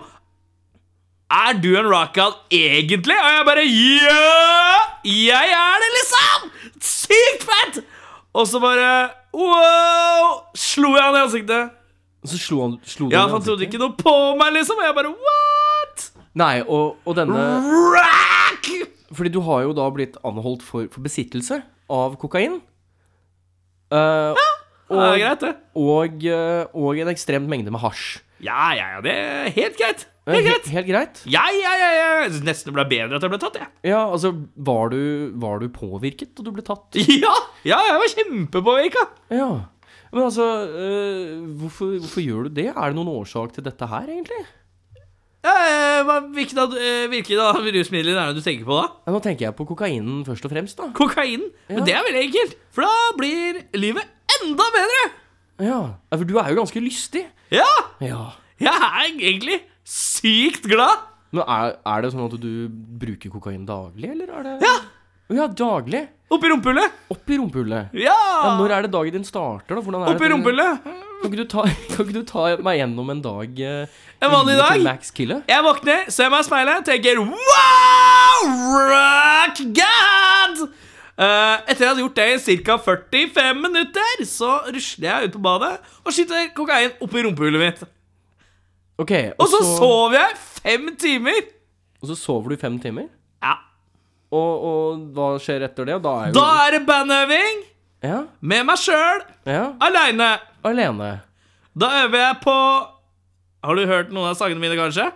B: Er du en rockhound egentlig? Og jeg bare Ja! Jeg er det, liksom! Sykt fett! Og så bare Wow! Slo jeg han i ansiktet.
C: Og så slo han slo
B: Ja,
C: du
B: for han trodde ikke noe på meg, liksom. Og jeg bare What?
C: Nei, og, og denne
B: Rack!
C: Fordi du har jo da blitt anholdt for, for besittelse av kokain. Eh,
B: Det er greit, det.
C: og, eh, og en ekstremt mengde med hasj.
B: Ja, ja, ja. Det er helt greit.
C: Eh,
B: Helt greit.
C: he- Helt greit.
B: Ja, ja, ja. ja. Jeg synes Nesten det ble bedre at jeg ble tatt, jeg.
C: Ja, altså, var du, var du påvirket da du ble tatt?
B: Ja, ja, jeg var kjempepåvirka.
C: Ja. Men altså, eh, hvorfor, hvorfor gjør du det? Er det noen årsak til dette her, egentlig?
B: Eh, hva- Hvilken av eh, hvilken av rusmidlene er det du tenker på da?
C: Ja, nå tenker jeg på kokainen først og fremst, da.
B: Kokainen.
C: Ja.
B: Men det er veldig enkelt, for da blir livet enda bedre.
C: Ja, ja, for du er jo ganske lystig.
B: Ja,
C: Ja.
B: jeg er egentlig sykt glad.
C: Men er, er det sånn at du bruker kokain daglig, eller er det
B: Ja,
C: Ja, daglig.
B: oppi rumpehullet.
C: Opp i rumpehullet. Ja,
B: Ja,
C: når er det dagen din starter, da? Hvordan er
B: oppi
C: det?
B: rumpehullet.
C: Kan ikke, du ta, kan ikke du ta meg gjennom en dag eh,
B: En vanlig
C: i- til
B: dag?
C: Max Kille?
B: Jeg våkner, ser meg i speilet, tenker Wow, rock god! Eh, etter jeg hadde gjort det i ca. 45 minutter, så rusler jeg ut på badet og skyter kokain oppi rumpehullet mitt.
C: Ok,
B: Og så sover jeg fem timer.
C: og så sover du i fem timer?
B: Ja,
C: Og, og hva skjer etter det? Da er jo
B: Da er det bandøving
C: Ja,
B: med meg sjøl,
C: ja.
B: aleine.
C: Alene.
B: Da øver jeg på Har du hørt noen av sangene mine, kanskje?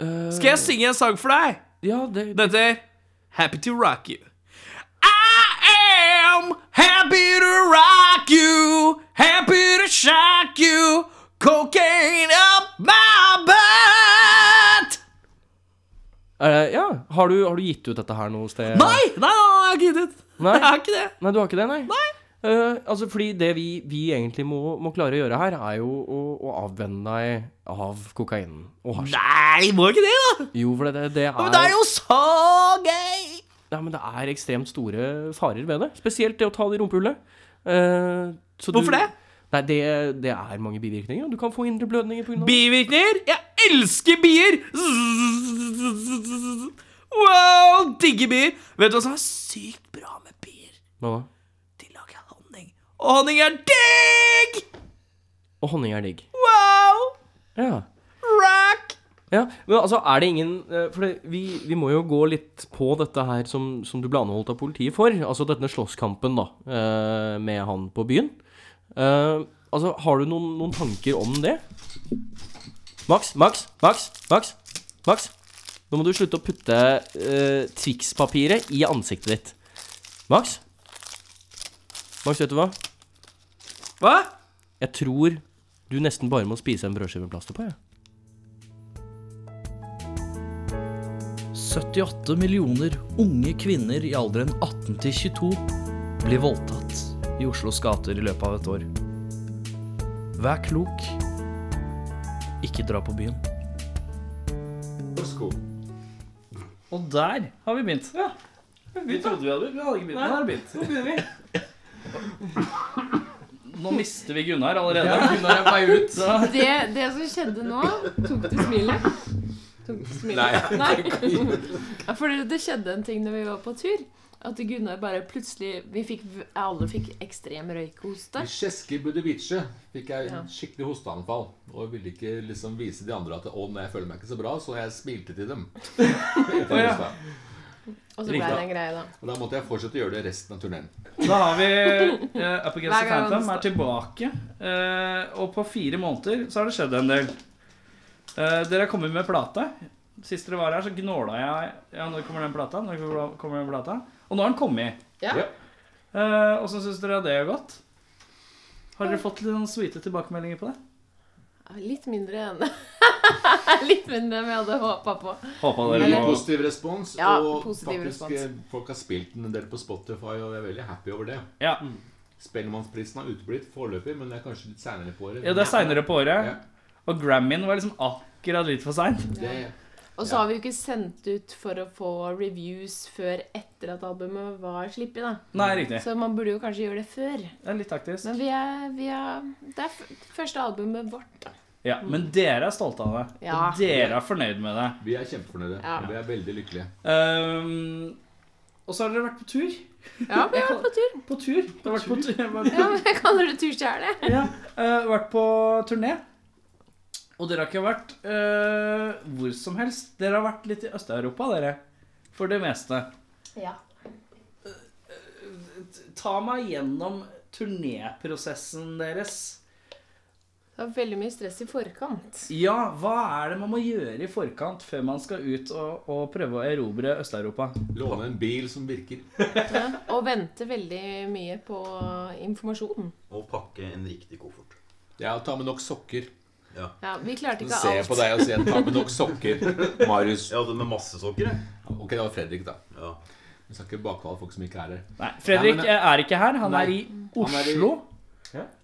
C: Eh,
B: Skal jeg synge en sang for deg?
C: Ja, det,
B: Den heter Happy to Rock You. I am happy to rock you, happy to shock you, cocaine up my butt.
C: Eh, ja. Har, du, har du gitt ut dette her noe sted?
B: Nei, nei, nei, jeg har ikke giddet.
C: Nei.
B: Jeg har ikke det.
C: Nei, du har ikke det, nei? Eh, altså, fordi det vi, vi egentlig må, må klare å gjøre her, er jo å, å avvenne deg av kokainen og hasj.
B: Nei, må ikke det, da.
C: Jo, for det, det er
B: Men det er jo så gøy.
C: Nei, men det er ekstremt store farer ved det. Spesielt det å ta det i rumpehullet. Eh, så du-
B: Hvorfor det?
C: Nei, det, det er mange bivirkninger. og Du kan få indre blødninger pga.
B: Bivirkninger? Jeg elsker bier! Wow, digger bier. Vet du hva som er sykt bra med bier?
C: det.
B: De lager honning. Og honning er digg!
C: Og honning er digg.
B: Wow!
C: Ja.
B: Rock!
C: Ja, men altså er det ingen eh, For det, vi, vi må jo gå litt på dette her som, som du ble anholdt av politiet for. Altså denne slåsskampen da, eh, med han på byen. Eh, altså, har du noen, noen tanker om det? Max, Max, Max, Max, Max. Nå må du slutte å putte eh, Twix-papiret i ansiktet ditt. Max? Max, vet du hva?
B: Hva?
C: Jeg tror du nesten bare må spise en brødskive med plaster på, jeg.
B: 78 millioner unge kvinner i alderen 18 til 22 blir voldtatt i Oslos gater i løpet av et år. Vær klok. Ikke dra på byen. Og der har vi begynt. Ja. Vi trodde vi hadde begynt, men vi hadde ikke begynt. Nå har vi begynt. Nå mister vi Gunnar allerede. Gunnar er på vei ut.
D: Det, det som skjedde nå Tok du smilet? Tok du smilet? Nei. Ja, For det- det skjedde en ting når vi var på tur. At Gunnar bare plutselig Vi fikk Alle fikk ekstrem røykhoste.
E: I Kjeski Budovice fikk jeg
D: Ja.
E: skikkelig hosteanfall. Og ville ikke liksom vise de andre at 'Å, nei, jeg føler meg ikke så bra', så jeg smilte til dem. Etter
B: ja.
E: hosta.
D: Og så ble det en greie, da.
E: Og da måtte jeg fortsette å gjøre det resten av turneen.
B: Da har vi eh, Up Against
D: Hver
B: the
D: gang han
B: Phantom
D: står.
B: er tilbake. eh, og på fire måneder så har det skjedd en del. Eh, dere har kommet med plate. Sist dere var her, så gnåla jeg Ja, når kommer den plata? Når kommer den plata? Og nå har den kommet.
D: Ja.
E: Ja.
B: Uh, Åssen syns dere det har gått? Har dere fått litt sånn sweete tilbakemeldinger på det?
D: Litt mindre enn Litt mindre enn vi hadde håpa på.
B: Håpa
E: Veldig positiv respons.
D: Ja,
E: og
D: positiv respons.
E: faktisk eh, folk har spilt den en del på Spotify, og jeg er veldig happy over det.
B: Ja.
D: Mm.
E: Spellemannsprisen har uteblitt foreløpig, men det er kanskje litt seinere på året.
B: ja, det er seinere på året.
E: Ja.
B: Og Grammyen var liksom akkurat litt for seint.
E: Det-
D: Og så har vi jo ikke sendt ut for å få reviews før etter at albumet var sluppet, da.
B: Nei, riktig.
D: Så man burde jo kanskje gjøre det før.
B: Det er litt taktisk.
D: Men vi er, vi er Det er f første albumet vårt, da.
B: Ja, Men dere er stolte av det.
D: Ja.
B: Og dere er fornøyd med det.
E: Vi er kjempefornøyde.
D: Ja.
E: og Vi er veldig lykkelige.
B: Ehm, og så har dere vært på tur.
D: Ja, vi har vært på tur.
B: På tur. Dere har vært på, tur.
D: Ja, men jeg kaller det turstjerne.
B: ja, eh, vært på turné. Og dere har ikke vært eh, hvor som helst. Dere har vært litt i Øst-Europa, dere. For det meste.
D: Ja.
B: Ta meg gjennom turnéprosessen deres.
D: Det var veldig mye stress i forkant.
B: Ja, hva er det man må gjøre i forkant før man skal ut og, og prøve å erobre Øst-Europa?
E: Låne en bil som virker.
D: Og vente veldig mye på informasjon.
F: Og pakke en riktig koffert.
E: Ja, og ta med nok sokker.
D: Ja, vi klarte
E: Så
D: ikke
E: ser jeg
D: alt.
E: på deg og sier 'ta med nok sokker', Marius.
F: Jeg hadde med masse sokker, jeg.
E: Ok, det var Fredrik, da.
F: Ja.
E: Vi skal ikke bakvale folk som ikke er her.
B: Nei, Fredrik
E: Nei, men-
B: eh, er ikke her. Han
E: Nei.
B: er i
E: Han er i-
B: Oslo.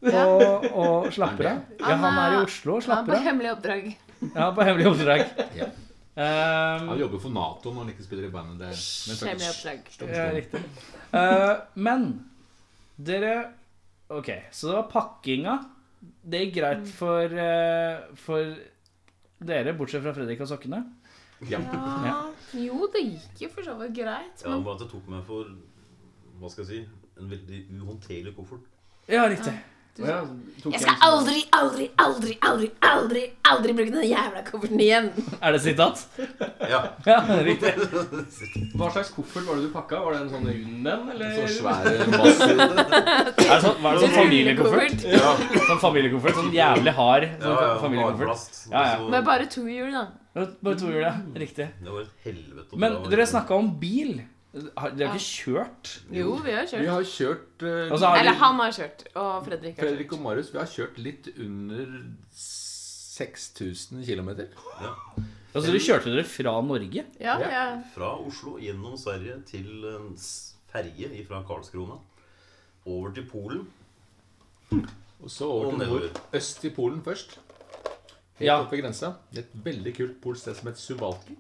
B: Og, og slapper av. Ja, han er i Oslo og
D: Ja,
B: slapper
D: på
B: av.
D: hemmelig oppdrag.
B: Ja, på hemmelig oppdrag.
E: Ja.
B: Ehm,
E: Han jobber for Nato når han ikke spiller i bandet. Det er, men snakker-
D: Hemmelig oppdrag.
B: ja, riktig. Eh, men dere OK, så det var pakkinga. Det gikk greit for, eh, for dere, bortsett fra Fredrik og sokkene.
E: ja.
D: Ja. Jo, det gikk jo for så vidt greit.
F: Ja,
D: Men
F: bare at det tok meg for Hva skal jeg si? En veldig uhåndterlig koffert.
B: Ja, riktig.
D: Du sa-
G: tok
D: Jeg skal
E: sånn-
D: aldri, aldri, aldri, aldri, aldri aldri bruke den jævla kofferten igjen.
B: Er det sitat?
H: Ja.
B: Ja, riktig.
C: Hva slags koffert var det du pakka? Var det en sånn rund en, eller?
E: Så svære massiv
B: Er det sånn, var det sånn familiekoffert?
H: ja.
B: Sånn familiekoffert, sånn jævlig hard sånn
H: ja,
B: familiekoffert.
H: hardplast.
B: Ja, ja.
H: Så-
D: Med bare to hjul, da.
B: Bare to hjul, ja. Riktig.
H: Det var et helvete å
B: Men
H: dra.
B: dere snakka om bil. Har- Dere har ikke kjørt?
D: Jo, vi har
E: Vi
D: kjørt.
E: har kjørt eh,
B: Altså, har
D: Eller
B: dere-
D: han har kjørt, og Fredrik har
E: Fredrik
D: kjørt.
E: og Marius, vi har kjørt litt under 6000 km.
B: altså, dere kjørte dere fra Norge?
D: Ja, ja.
H: Fra Oslo gjennom Sverige til en s- ferge fra Karlskrona. Over til Polen.
E: Og så over
H: Og
E: til nord.
H: nedover.
E: Øst i Polen først. Helt
B: Ja.
E: opp ved grensa. Et veldig kult polsk sted som het Suwalki.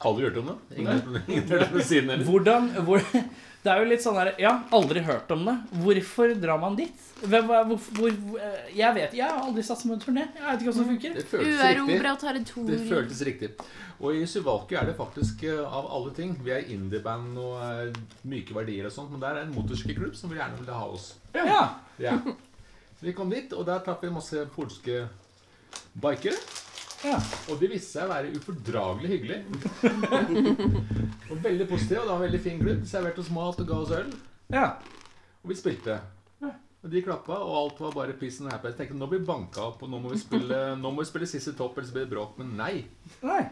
E: Aldri hørt om det. Ingen ingen hørt om det siden heller.
B: Hvordan hvor, Det er jo litt sånn her Ja, aldri hørt om det. Hvorfor drar man dit? Hvem, er- hvor, hvor, eh, jeg vet Jeg har aldri satt som en turné. Jeg vet ikke hvordan det funker.
E: Det føltes riktig.
D: Uerobra
E: Det
D: territorium.
E: føltes riktig. Og i Suwalki er det faktisk, eh, av alle ting Vi er indieband og eh, myke verdier og sånt, men der er en motorsykkelklubb som vil gjerne ville ha oss.
B: Ja.
E: Ja. Så vi kom dit, og der traff vi masse polske bikere.
B: ja.
E: Og de viste seg å være ufordragelig hyggelige. og veldig positive. Og det var en veldig fin klubb. Serverte oss mat og ga oss øl.
B: ja.
E: Og vi spilte. Og de klappa, og alt var bare peace and happy. Jeg tenkte nå blir vi banka opp, og nå må vi spille, nå må vi spille siste topp, ellers blir det bråk. Men nei.
B: Nei.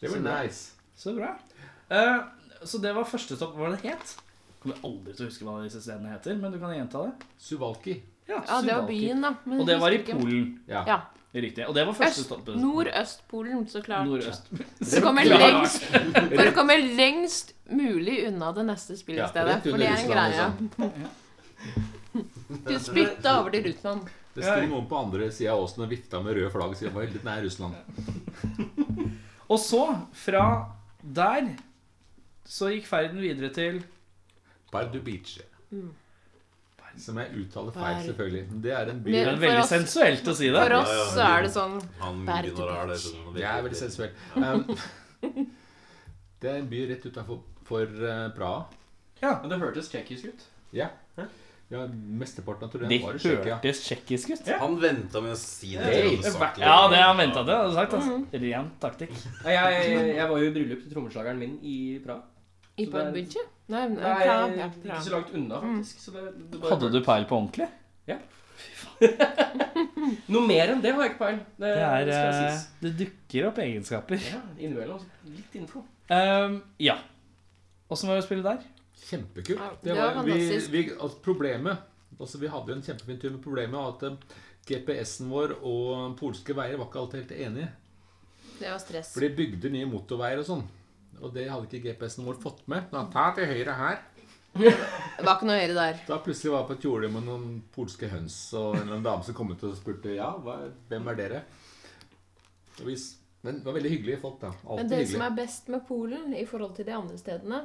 E: Det var nice.
B: Så bra. Eh, så det var første stopp. Hva var det het? Kommer aldri til å huske hva disse stedene heter, men du kan gjenta det.
E: Suwalki.
D: Ja, det var
B: Suwalki.
D: byen, da. Men
B: Og det var i
D: husker ikke.
B: Polen.
E: Ja.
D: Ja.
B: Riktig. Og det var første
D: Øst,
B: stoppet.
D: Nordøst-Polen, så klart.
B: Nordøst.
D: Så kommer
B: klart.
D: lengst, for å komme lengst mulig unna det neste spillestedet.
E: rett under
D: for det er en
E: Russland,
D: greie.
E: liksom.
D: Du spytta over til Russland.
E: Det sto noen på andre sida av åsen og vifta med røde flagg. Så jeg var litt nær Russland.
B: Og så, fra der, så gikk ferden videre til
E: Pardubice. Som jeg uttaler feil, selvfølgelig. Men Det er en by
B: Det
D: Men-
B: er veldig
D: For oss-
B: sensuelt å si det.
D: For oss så er det sånn
H: Han
D: Bergen.
H: Gunnar er det. sånn-
E: Jeg er veldig sensuell. Um, det er en by rett utafor for, eh, Praha.
C: Men det hørtes tsjekkisk ut.
E: Ja. ja mesteparten av
B: De
E: turneen var i Tsjekkia.
B: hørtes tsjekkisk ut.
H: Han venta med å si det.
E: Hey,
H: han hadde sagt det.
B: Ja, det har han venta til. hadde sagt,
D: Mhm.
B: altså. Ren taktikk.
C: Nei, jeg, jeg, jeg var jo i bryllup til trommeslageren min i Praha.
D: I
C: Så det er-
D: Badbunche? Nei, men-
C: Nei,
D: ja, ja, Mm.
C: ikke
D: bra.
C: så langt unna, faktisk. Så det, det bare-
B: Hadde du peil på ordentlig?
C: Noe mer enn det har jeg ikke peil. Det,
B: Det, er,
C: det skal jeg
B: eh,
C: sies.
B: det dukker opp egenskaper.
C: Ja, innimellom. altså. Litt info.
B: Um, ja. Åssen var det å spille der?
E: Kjempekult.
D: Ja,
E: Det
D: det
E: var,
D: var
E: vi,
D: fantastisk.
E: vi, altså, problemet altså, Vi hadde jo en kjempefin tur, men problemet var at eh, GPS-en vår og polske veier var ikke alltid helt enige.
D: Det var stress.
E: For de bygde nye motorveier og sånn. Og det hadde ikke GPS-en vår fått med. Da, ta til høyre her.
D: Det var ikke noe å gjøre der.
E: Da plutselig var jeg på et jorde med noen polske høns og en eller annen dame som kom ut og spurte ja, hva, hvem er dere? Og vi, s- men det var veldig hyggelige folk, da.
D: Men
E: Alltid
D: det som
E: hyggelige.
D: er best med Polen i forhold til de andre stedene,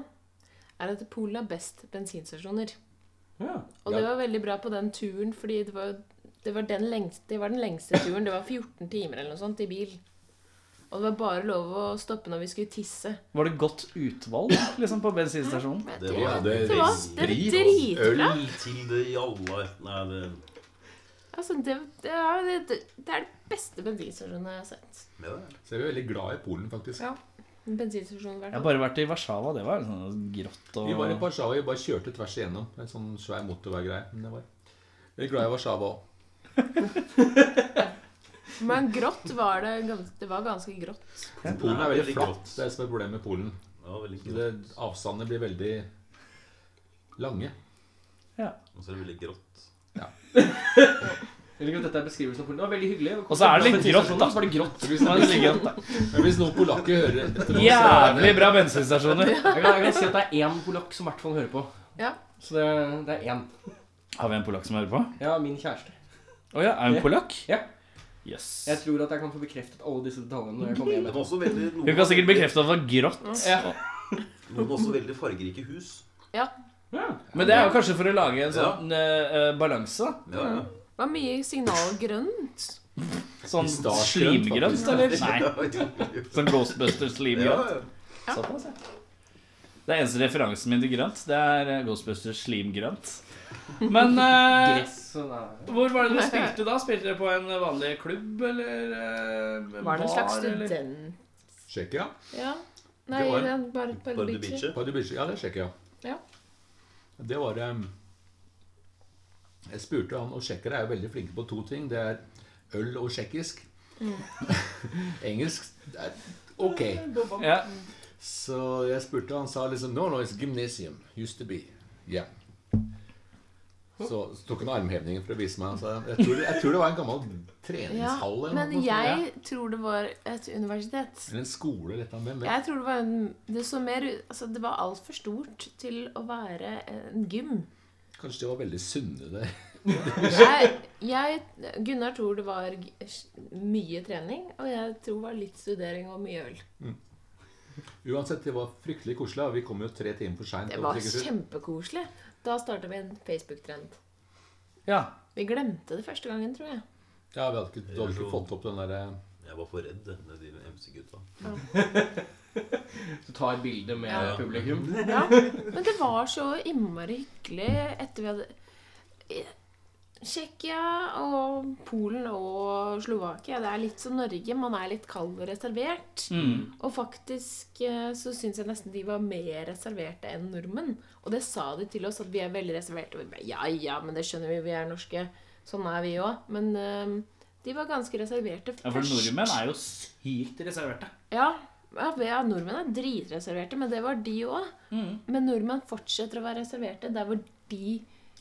D: er at Polen har best bensinstasjoner.
C: Ja.
D: Og det var veldig bra på den turen, fordi det var, det var, den, lengste, det var den lengste turen. Det var 14 timer eller noe sånt i bil. Og det var bare lov å stoppe når vi skulle tisse.
B: Var det godt utvalg liksom, på bensinstasjonen?
D: Men
H: Det var, det,
D: det var, det var dritbra.
H: Øl til det jalla Nei, det
D: Altså, det, det, er, det, det- det er det beste bensinstasjonen jeg har sett.
H: med det.
E: Så jeg er veldig glad i Polen, faktisk.
D: Ja. Bensinstasjonen, i
B: Jeg har
D: hvert fall.
B: bare vært i Warszawa. Det var sånn grått og
E: Vi var i Warszawa, vi bare kjørte tvers igjennom. En sånn svær motorveigreie. Men det var Veldig glad i Warszawa òg.
D: Men grått var det gans- Det var ganske grått.
E: Polen er veldig flatt.
H: godt.
E: Det er det som er problemet med Polen.
H: Det var veldig
E: Så
H: grått.
E: Det, avstandene blir veldig lange.
H: Og så er det veldig grått.
C: Jeg liker at dette er beskrivelsen av Polen. Det var veldig hyggelig.
B: Og så er det litt grått, da.
C: Så var det grått.
B: Det var litt grått, da.
E: Men hvis noen polakker hører etter nå, så er
B: Jævlig bra bensinstasjoner.
C: Jeg kan, jeg kan si at det er én polakk som i hvert fall hører på.
D: Ja.
C: Så det, det er én.
B: Har vi en polakk som hører på?
C: Ja, min kjæreste.
B: Å ja, er hun
C: Ja.
B: polakk?
C: Ja.
B: Yes.
C: Jeg tror at jeg kan få bekreftet alle disse detaljene når jeg kommer hjem.
H: Men også veldig
B: Hun kan sikkert bekrefte at det var grått.
C: Ja.
H: Noen også veldig fargerike hus.
C: Ja.
B: Men det er jo kanskje for å lage en sånn eh, eh, balanse.
H: Ja, ja.
D: Det var mye signalgrønt.
B: Sånn
E: Pistasjegrønt,
B: slimgrønt, eller? Nei.
H: Ja,
B: Sånn Ghostbuster-slimgrønt.
H: ja.
B: Såpass, ja.
C: altså. Det er eneste referansen min til grønt. Det er eh, Ghostbusters slimgrønt. Men eh,
D: sånn
C: hvor var det dere spilte da? Spilte dere på en vanlig klubb, eller eh,
D: Var det en slags
C: eller?
D: student...?
E: Tsjekkia?
D: Ja. Nei,
H: Det var-
D: det er bare på
H: På The
D: Beacher.
H: Beacher.
E: På Dubici- Ja, det sjekker jeg.
D: Ja.
E: Det var em, Jeg spurte han, og tsjekkere er jo veldig flinke på to ting. Det er øl og tsjekkisk.
D: Mm.
E: Engelsk det er ok.
C: Ja.
E: Så jeg spurte, han sa liksom No, no, it's gymnasium. Used to be. Yeah. Så, så tok han armhevningen for å vise meg. Han sa, jeg, tror, jeg tror det var en gammel
D: Ja,
E: treningshall eller
D: men
E: noe sånt.
D: jeg tror det var et universitet.
E: Eller en skole, eller et eller annet. Hvem vet?
D: Jeg tror det var en Det, så mer, ut- altså, det var altfor stort til å være en gym.
E: Kanskje de var veldig sunne der.
D: Jeg, jeg, Gunnar tror det var g- mye trening, og jeg tror det var litt studering og mye øl.
E: Uansett, det var fryktelig koselig. og Vi kom jo tre timer for seint.
D: Det var kjempekoselig. Da starta vi en Facebook-trend.
C: ja.
D: Vi glemte det første gangen, tror jeg.
E: Ja, vi hadde ikke, du hadde ikke fått opp den eh, derre
H: Jeg var for redd med de MC-gutta.
I: Du tar bilde med
H: Ja.
I: publikum.
D: Ja. Men det var så innmari hyggelig etter vi hadde I- Tsjekkia og Polen og Slovakia. Det er litt som Norge. Man er litt kald og reservert.
C: Mm.
D: Og faktisk eh, så syns jeg nesten de var mer reserverte enn nordmenn. Og det sa de til oss, at vi er veldig reserverte. Og vi bare ja ja, men det skjønner vi, vi er norske. Sånn er vi òg. Men eh, de var ganske reserverte først.
C: ja, for nordmenn er jo sykt reserverte.
D: Ja, ja, vi- ja nordmenn er dritreserverte, men det var de òg. Men nordmenn fortsetter å være reserverte der hvor de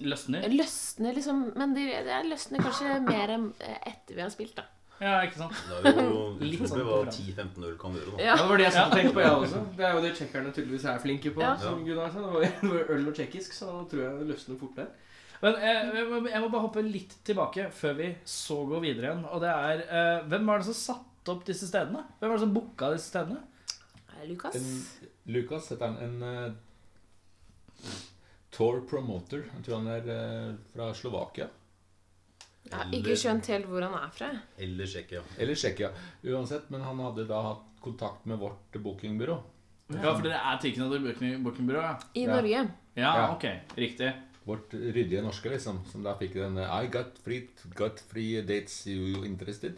C: Løsner.
D: løsner, liksom. Men de, de løsner kanskje mer enn eh, etter vi har spilt, da.
C: Ja, ikke sant?
H: Det er jo
C: Litt sånn
H: utrolig hva
C: konkurranse.
H: 10-15 øl kan gjøre. da.
D: Ja.
I: Ja, det var det jeg satt og tenkte på, jeg også. Det er jo det tsjekkerne tydeligvis er flinke på.
D: Ja.
I: Som Gunnar sa, det var det var øl og tsjekkisk, så da tror jeg det løsner fort der.
C: Men eh, jeg må- jeg må bare hoppe litt tilbake før vi så går videre igjen. Og det er eh, Hvem var det som satte opp disse stedene? Hvem var det som booka disse stedene?
D: Eh, Lukas?
E: en, Lukas heter han. En eh, tour promoter. Jeg tror han er eh, fra Slovakia.
D: Jeg har ikke skjønt helt hvor han er fra.
H: Eller Tsjekkia.
E: Eller Tsjekkia. Uansett, men han hadde da hatt kontakt med vårt bookingbyrå.
C: Ja, for dere er tilknyttet booking- bookingbyrå? Ja.
D: I
E: Ja.
D: Norge.
C: ja,
E: Ja.
C: ok. Riktig.
E: Vårt ryddige norske, liksom. Som da fikk den eh, I got free, got free dates you interested.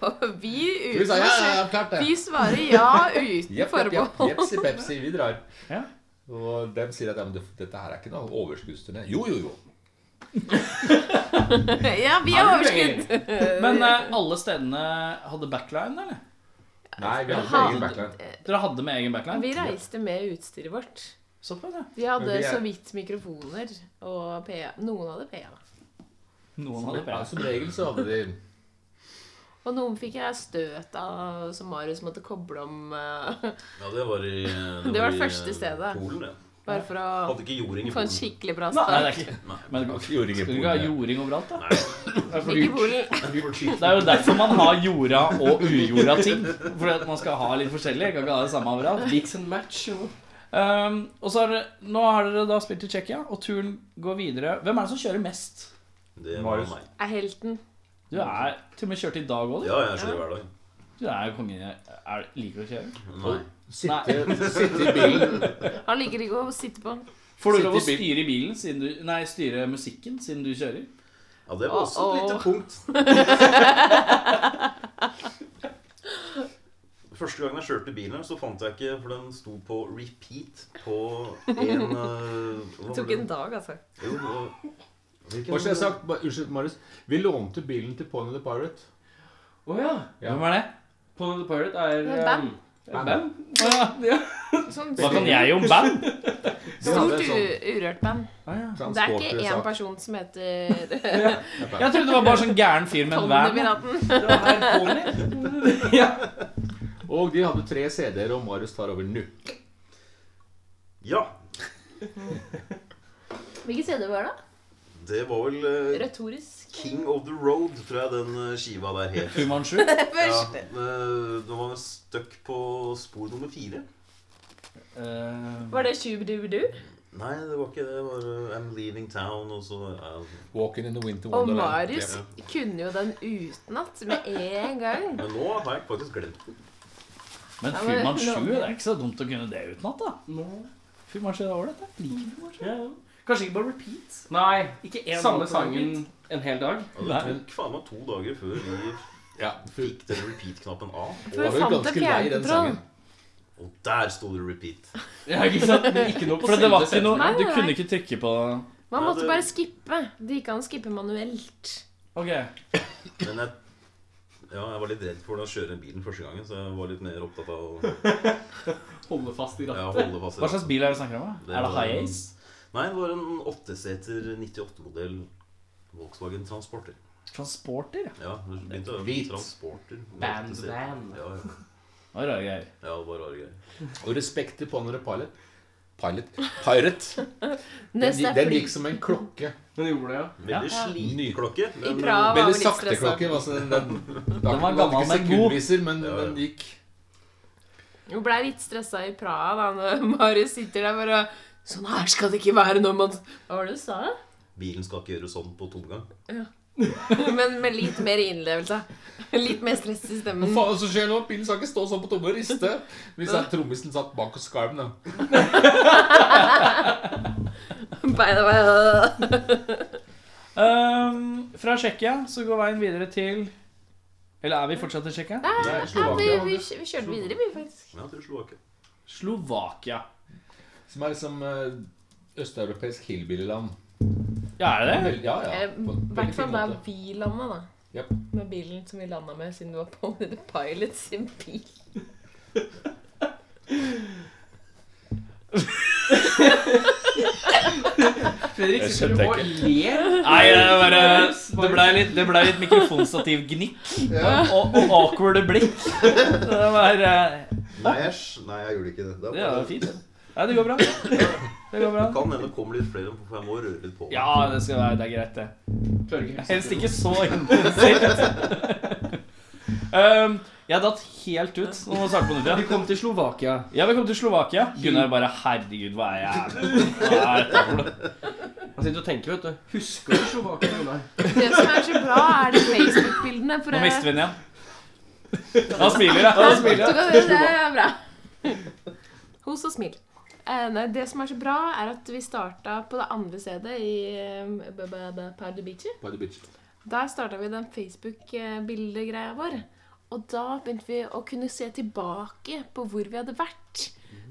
D: Og vi
E: Vi sa
D: uten å
E: ja, ja,
D: se
E: ja, klart det.
D: Vi svarer ja uten
E: Jepp, jepp, jepp,
D: forbehold.
E: jepsi, pepsi, vi drar.
C: Ja.
E: Og de sier at ja, men det, dette her er ikke noe overskuddsturné. Jo, jo, jo.
D: Ja, vi har overskudd.
C: Men eh, alle stedene hadde backline, eller?
E: Nei, vi hadde
D: Ha-
E: egen backline.
C: Dere hadde med egen backline?
D: Vi reiste med utstyret vårt.
C: Såpass, ja.
D: Vi hadde
E: Men vi er-
D: så vidt mikrofoner og PA. Noen hadde PA.
C: Noen hadde
E: Ja,
C: backline.
E: som regel så hadde de
D: Og noen fikk jeg støt av, så Marius måtte koble om eh,
H: Ja, det var i
D: Det var det
H: i,
D: første
H: eh,
D: stedet.
H: Polen, det.
D: Bare for å
H: Hadde ikke jording i
D: få en
H: Polen.
D: skikkelig bra
C: Nei, det
D: start.
C: er ikke
H: Nei.
C: Men
E: Ja,
C: skal
E: vi gjorde ingen
C: du ikke ha
E: polen, ja.
C: jording overalt, da? Det er for
D: Ikke
C: dyrt.
D: Polen.
C: Det er jo derfor man har jorda og ujorda ting. Fordi at man skal ha litt forskjellig. Kan ikke ha det samme overalt.
I: Mix and match. jo.
C: Um, og så har dere, Nå har dere da spilt i Tsjekkia, og turen går videre. Hvem er det som kjører mest?
H: Det var
E: Marius.
H: meg.
D: Er helten.
C: Du er til og med kjørt i dag òg, du.
H: Ja, jeg kjører hver dag.
C: Du er jo kongen. Er, liker du å kjøre?
H: Nei.
C: Nei.
E: sitte, sitte i bilen.
D: Han liker ikke å sitte på.
C: Får du lov å
E: Sitte i bil.
C: styre i bilen siden du, Nei, styre musikken siden du kjører?
H: Ja, det var også et lite
D: Åh.
H: punkt. Første gangen jeg kjørte bilen, her, så fant jeg ikke For den sto på repeat på en eh, hva
D: Det
H: var
D: tok
H: det?
D: en dag, altså.
H: Jo, og, hvilken-
E: Hva skal jeg sagt? Ba- Unnskyld, Marius. Vi lånte bilen til Pony the Pirate.
I: Å ja.
E: Ja.
C: Hvem er det?
I: Pony the Pirate er
D: Det er band.
E: Eh,
I: Um, band.
C: Å, ja.
D: Sånn
C: Hva kan jeg om band?
D: stort u- urørt band.
C: Å, ja.
D: Det er ikke én person som heter
C: Jeg trodde det var bare sånn gæren fyr med en van.
D: Ponnepiraten.
I: Det er Pony.
E: Og de hadde tre CD-er, og Marius tar over nå.
H: Ja.
D: Hvilken CD var det?
H: Det var vel eh,
D: Retorisk.
H: King of the Road, tror jeg den eh, skiva der het.
C: Fu Manchu.
H: Ja,
D: Først.
H: eh, den var stuck på spor nummer fire.
C: Eh,
D: Var det Shubdubudu?
H: Nei, det var ikke det. Det var eh, I'm Leaving Town, og så ja.
E: Walking in the Winter
D: Og
E: Wonderland.
D: Marius kunne jo den utenat med en gang.
H: Men nå har jeg faktisk glemt den.
C: Men Fyrmann 7, det er ikke så dumt å kunne det utenat, da. Fyrmann 7 er ålreit, det. Jeg liker Fyrmann 7. Kanskje ikke bare repeat.
B: Nei,
C: Ikke en
B: samme
C: låt på
B: sangen en hel dag.
H: Og det tok faen meg to dager før vi
E: Ja,
H: fikk den repeat-knappen av.
D: For
E: var
D: vi
E: jo
D: fant en
E: ganske lei den
D: fjernkontroll.
E: sangen.
H: Og der sto det repeat.
B: Ja, ikke sant? Men Ikke noe på
C: For det var ikke
B: selve
C: noe
D: Nei, nei,
C: Du
D: nei.
C: kunne ikke trykke på
D: Man
H: Ja,
D: måtte
H: det-
D: bare skippe. Det gikk an å skippe manuelt.
C: OK.
H: Men jeg, ja, jeg var litt redd for hvordan jeg kjører bilen første gangen, så jeg var litt mer opptatt av å
B: setningen. Holde fast i
H: ja,
B: rattet.
H: holde fast i
C: Hva slags bil er det vi snakker om? da?
H: Det
C: Er det
H: var
C: High
H: en-
C: Ace?
H: Nei, det var en åtteseter 98-modell Volkswagen Transporter.
C: Transporter? ja.
H: Ja, det begynte å
E: Hvit.
H: Transporter.
B: Band
H: åtteseter.
B: van.
H: Ja, ja.
C: Det var rare greier.
H: ja, det var rare greier.
E: Og respekt til Ponder Pilot. Pilot. Pirate. Den,
D: Neste er
E: den
D: fly.
E: gikk som en klokke.
B: Den gjorde det, ja.
H: Veldig sliten klokke.
D: I
H: Men
D: Praha var
E: Veldig
D: vi litt
E: sakte
D: stressa.
E: klokke. Altså, den, den, den, den
C: var gammel,
E: ikke
C: men god.
E: sekundviser, men
H: Ja, ja.
E: den gikk
D: Hun blei litt stressa i Praha da når Marius sitter der bare Sånn her skal det ikke være når man Hva var det du sa?
H: bilen skal ikke gjøre sånn på tomgang.
D: Men med litt mer innlevelse. Litt mer stress i
E: Hva
D: stemmen.
E: faen er det som skjer nå? Bilen skal ikke stå sånn på tomme og riste. Hvis jeg- trommisen satt bak hos skarven, da.
D: Beina bare
C: Ehm, fra Tsjekkia så går veien videre til Eller er vi fortsatt i Tsjekkia?
E: Nei,
D: ja, vi,
E: Slovakia,
D: vi, vi kjørte videre, vi, faktisk.
H: Men jeg tror Slovakia.
C: Slovakia.
E: som er liksom eh, østeuropeisk hillbillyland.
C: Ja, er det det?
E: Vel- Ja, ja.
D: Eh,
E: på- på en
D: I hvert
E: fin
D: fall der
E: måte.
D: vi landa, da.
E: Japp.
D: Med bilen som vi landa med, siden du var på The Pilot sin bil.
B: Fredrik
E: Jeg
B: sitter
E: skjønte
B: og ler.
C: Nei, det bare Det blei litt, det ble litt mikrofonstativgnikk og, og awkward blikk. Det var eh,
H: Nei, æsj. Nei, jeg gjorde ikke det.
C: Det er jo fint. det. Nei, det går bra. Det går bra.
H: Kan hende det kommer litt flere, for jeg må røre litt på meg.
C: Ja, det skal være Det er greit, det.
B: Klarer ikke å
C: Helst ikke så intensivt. Um, jeg har datt helt ut. Nå må vi starte på nytt
B: Vi
C: igjen.
B: kom til Slovakia.
C: Ja, velkommen til Slovakia. Gunnar bare Herregud, hva er jeg Hva er dette for noe?
B: Han sitter og tenker, vet Altså, du. Husker du Slovakia? Gunnar?
D: Det som er så bra, er de Facebook-bildene. For
C: Nå
D: det,
C: mister vi den igjen. Han smiler, ja. Han smiler.
D: Så kan dere- det er bra. Hos og smil. Eh, nei, det som er så bra, er at vi starta på det andre stedet, i eh, b- b- b- Pardo Beach.
E: By the beach.
D: Der starta vi den Facebook-bildegreia vår. Og da begynte vi å kunne se tilbake på hvor vi hadde vært.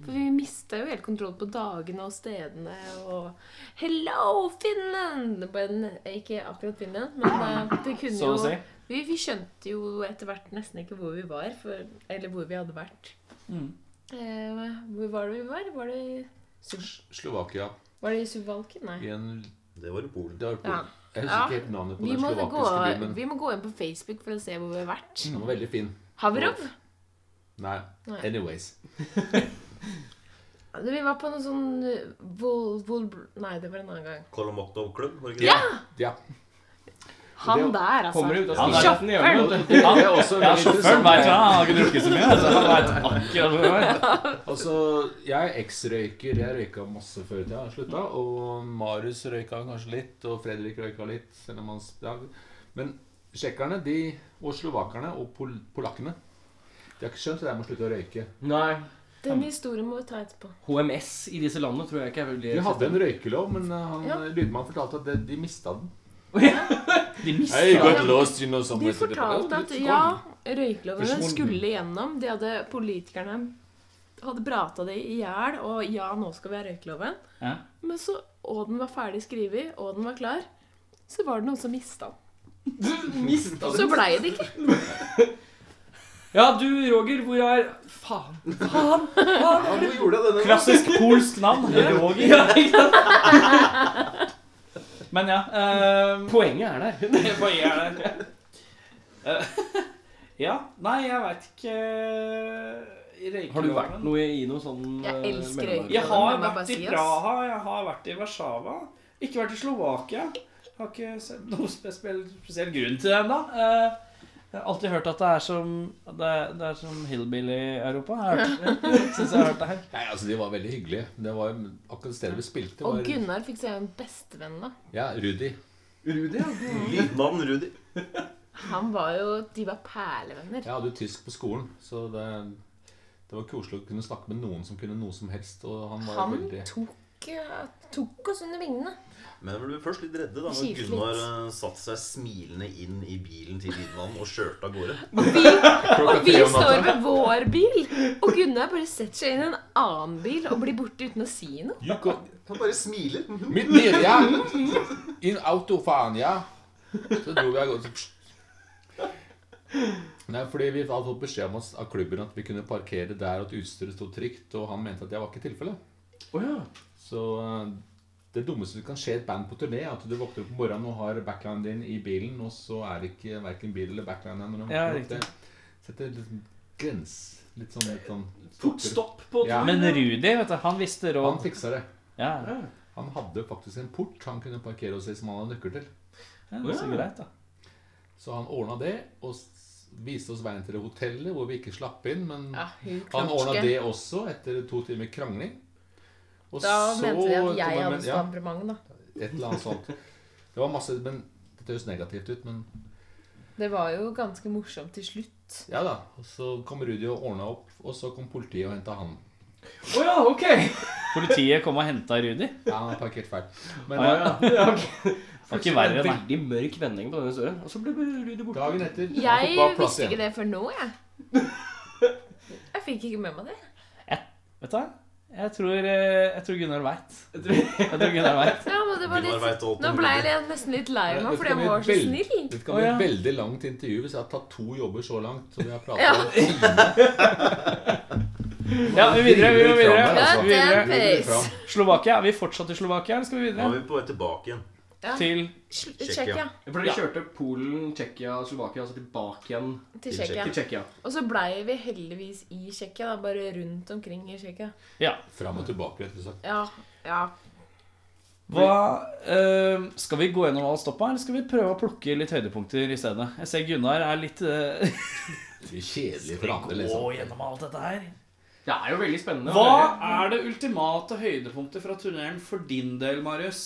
D: For vi mista jo helt kontroll på dagene og stedene og Hello, Finland! Men, ikke akkurat Finland, men eh, det kunne
C: Så å
D: jo
C: si.
D: vi, vi skjønte jo etter hvert nesten ikke hvor vi var, for, eller hvor vi hadde vært.
C: Mm.
D: Eh, hvor var det vi var? Var det, i Su-
E: Slovakia.
D: var det i Suvalken? Nei.
E: I en
H: Det var i Polen.
E: det var på,
D: Ja.
E: Jeg husker
D: Ja.
E: ikke helt navnet på
D: Vi
E: den
D: må, gå,
E: slovakiske byen, men
D: vi må gå inn på Facebook for å se hvor vi har vært.
E: den var veldig fin.
D: Havrov?
E: Nei.
D: Nei.
E: Anyways.
D: Vi var på noe sånn eh, vol, vol, Nei, det var en annen gang.
H: Kolomotov klubb, var det ikke
E: Ja!
H: det?
E: ja.
D: Han
E: Det
D: der, altså.
B: Kommer du ut av
C: Han er-
B: stillaten i hjørnet? vet du?
E: Det er også
C: Ja,
E: veldig
C: sjåføren
E: interessant.
C: vet jo, han har ikke drukket så mye. Så han vet akkurat hvor det var.
E: Altså, jeg er eks-røyker. Jeg røyka masse før i tida. jeg Slutta. Og Marius røyka kanskje litt, og Fredrik røyka litt. Selv om han ja. Men tsjekkerne de, og slovakerne og pol polakkene De har ikke skjønt det der med å slutte å røyke.
B: Nei.
D: Den historien må vi ta etterpå.
B: HMS i disse landene tror jeg ikke er veldig
E: De hadde en røykelov, men eh, han,
D: Ja.
E: lydmannen fortalte at de, de mista den.
C: De mista
E: I
D: got
E: lost, you know,
D: De fortalte at ja, røykeloven skulle igjennom. De hadde, politikerne hadde prata det i hjel, og ja, nå skal vi ha røykeloven.
C: Ja.
D: Men så, og den var ferdig skrevet, og den var klar, så var det noen som mista den.
B: Mista
D: Så blei det ikke.
B: Ja, du Roger, hvor er Faen. Faen. faen.
H: Ja, du gjorde det denne
C: Klassisk polsk navn. Roger.
B: Ja, ikke sant?
C: Men ja. ehm,
B: Poenget er der.
C: Poenget er der. Eh, ja. Nei, jeg veit ikke eh, Røykeloven.
B: Har du vært noe i noe sånn
D: Jeg
B: eh,
D: elsker
B: mellomlag?
D: røyk.
C: Jeg har
D: Jeg må bare
C: vært i
D: si, ass.
C: Praha, jeg har vært i Warszawa. Ikke vært i Slovakia. Har ikke sett noen spesiell, spesiell grunn til det ennå. Eh, Jeg har alltid hørt at det er som, det er, det er som hillbilly-Europa. Jeg har hørt- Synes jeg har hørt det her.
E: Nei, altså, De var veldig hyggelige. Det var jo akkurat stedet vi spilte.
D: Og
E: Var,
D: Gunnar fikk seg en bestevenn, da.
E: ja, Rudi.
B: Rudi, ja.
H: Mitt navn Rudi.
D: Han var jo De var perlevenner.
E: Jeg hadde jo tysk på skolen, så det, Det var koselig å kunne snakke med noen som kunne noe som helst. Og han var
D: Han
E: veldig
D: tok, eh, tok oss under vingene.
H: Men jeg ble først litt redde da når
D: Kjipt litt.
H: Gunnar eh, satte seg smilende inn i bilen til lydmannen og kjørte av gårde.
E: Klokka
D: Vi
E: tre om
D: står
E: natta.
D: ved vår bil, og Gunnar bare setter seg inn i en annen bil og blir borte uten å si noe.
E: You go-
H: Han bare smiler.
E: Mitt bil, ja! In auto, faen, ja! Så dro vi av gårde. så- Nei, fordi Vi hadde fått beskjed om oss av klubben at vi kunne parkere der, og at utstyret sto trygt. Og han mente at det var ikke tilfellet.
J: Å ja.
E: Så eh, det dummeste som kan skje i et band på turné, er at du våkner opp om morgenen og har backlinen din i bilen, og så er det ikke verken bil eller backline her når du
C: Ja,
E: våkner opp.
C: riktig.
E: Det setter litt sånn grens. Litt sånn, litt sånn
J: Fort stopp på
E: Ja.
C: Men Rudi, vet du, han visste
E: Han
C: råd.
E: fiksa det.
C: Ja, ja,
E: Han hadde faktisk en port han kunne parkere hos seg som han hadde nøkkel til.
C: det er så greit, da.
E: Så han ordna det, og s- viste oss veien til det hotellet hvor vi ikke slapp inn, men
D: Ja, hun
E: han ordna
D: klatske.
E: det også etter to timer krangling. Og
D: Da mente de
E: kom
D: at jeg
E: en-
D: hadde
E: men- ja.
D: stamperement, da.
E: Et eller annet sånt. Det var masse men Det høres negativt ut, men
D: Det var jo ganske morsomt til slutt.
E: ja da. Og så kom Rudi og ordna opp, og så kom politiet og henta han.
J: Å ja, ok!
C: Politiet kom og henta Rudi.
E: Ja, han har parkert feil. Men
C: Ah, ja.
J: Ja, ok.
C: var ikke verre, nei.
J: Veldig mørk vending på denne historien. Og så ble Rudi borte.
E: dagen etter så
D: Jeg
E: var plass
D: visste ikke
E: igjen.
D: det før nå, jeg. Jeg fikk ikke med meg det.
C: Vet du hva? Jeg tror, eh, jeg tror Gunnar veit. Jeg tror Gunnar vet.
D: Ja, men det var
H: Gunnar
D: litt...
H: vet alt
D: Nå
H: om
D: ble
H: Rudi.
D: jeg nesten litt lei
E: Dette
D: meg fordi jeg
E: kan bli
D: var så
E: veld-
D: snill.
E: Dette kan
C: Å,
E: bli
C: ja.
E: et veldig langt intervju hvis jeg har tatt to jobber så langt. Så vi har pratet
D: Ja.
E: om en time.
C: Ja, vi videre. Vi må videre.
D: Cut
E: Altså,
C: vi
D: and
E: Vi vil
D: paste.
E: fram.
C: Slovakia. Er vi fortsatt i Slovakia, eller skal vi
H: Nå er
C: videre?
H: vi på vei tilbake igjen.
D: Ja.
C: Til
D: Sl-
H: Tsjekkia.
D: Tsjekkia.
J: For dere kjørte Polen, Tsjekkia, Slovakia, altså tilbake igjen
D: Til
H: Til
D: Tsjekkia.
J: til Tsjekkia.
D: Og så blei vi heldigvis i Tsjekkia, da. Bare rundt omkring i Tsjekkia.
E: Fram og tilbake, rett og slett.
D: Ja. ja.
C: Hva, eh, skal vi gå gjennom alle stoppa, eller skal vi prøve å plukke litt høydepunkter i stedet? Jeg ser Gunnar er litt eh, sånn.
E: Det er kjedelig for andre, liksom.
C: Gå gjennom alt dette her.
J: Det er jo veldig spennende.
C: Hva
J: å høre.
C: er det ultimate høydepunktet fra turneren for din del, Marius?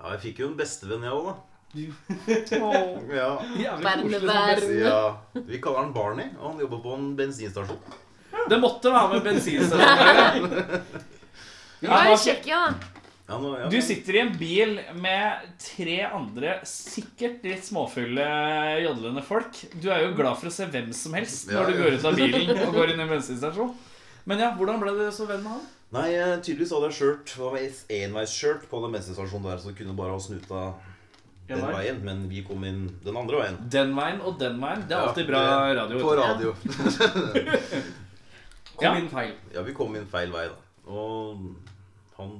H: Ja, jeg fikk jo en bestevenn, jeg òg,
D: Åh.
H: da. Ja.
D: Verne, verne.
H: ja. Vi kaller han Barney, og han jobber på en bensinstasjon.
C: Det måtte være med bensinstasjon.
D: Vi var i Tsjekkia, da.
H: Ja, nå, ja.
C: Du sitter i en bil med tre andre sikkert litt småfulle, jodlende folk. Du er jo glad for å se hvem som helst når du
H: Ja, ja.
C: går ut av bilen og går inn i en bensinstasjon. Men ja, hvordan ble du så venn med han?
H: Nei, eh, tydeligvis hadde jeg skjørt Det var et enveisskjørt på den bensinstasjonen der, så det kunne bare ha snuta den
C: vei.
H: veien. Men vi kom inn den andre veien.
C: Den veien og den veien. Det er
H: Ja,
C: alltid bra
H: det-
C: radio.
H: På radio.
C: Ja.
J: Kom inn feil.
H: Ja, vi kom inn feil vei, da. Og han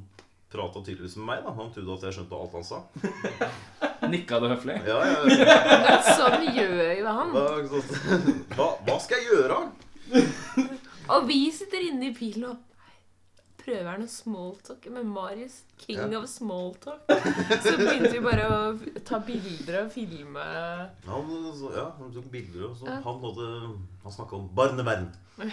H: prata tydeligvis med meg, da. Han trodde at jeg skjønte alt han sa.
C: Nikka du høflig?
H: Ja, ja, ja.
D: Sånn gjør jo han.
H: Da, så, sånn. hva, hva skal jeg gjøre?
D: Og vi sitter inne i bilen og prøver noe smalltalk med Marius. King
H: Ja.
D: of smalltalk. Så begynte vi bare å ta bilder og filme.
H: Han, så, ja, han tok bilder og så.
D: Ja.
H: Han, hadde, han snakka om barnevern.
E: Vi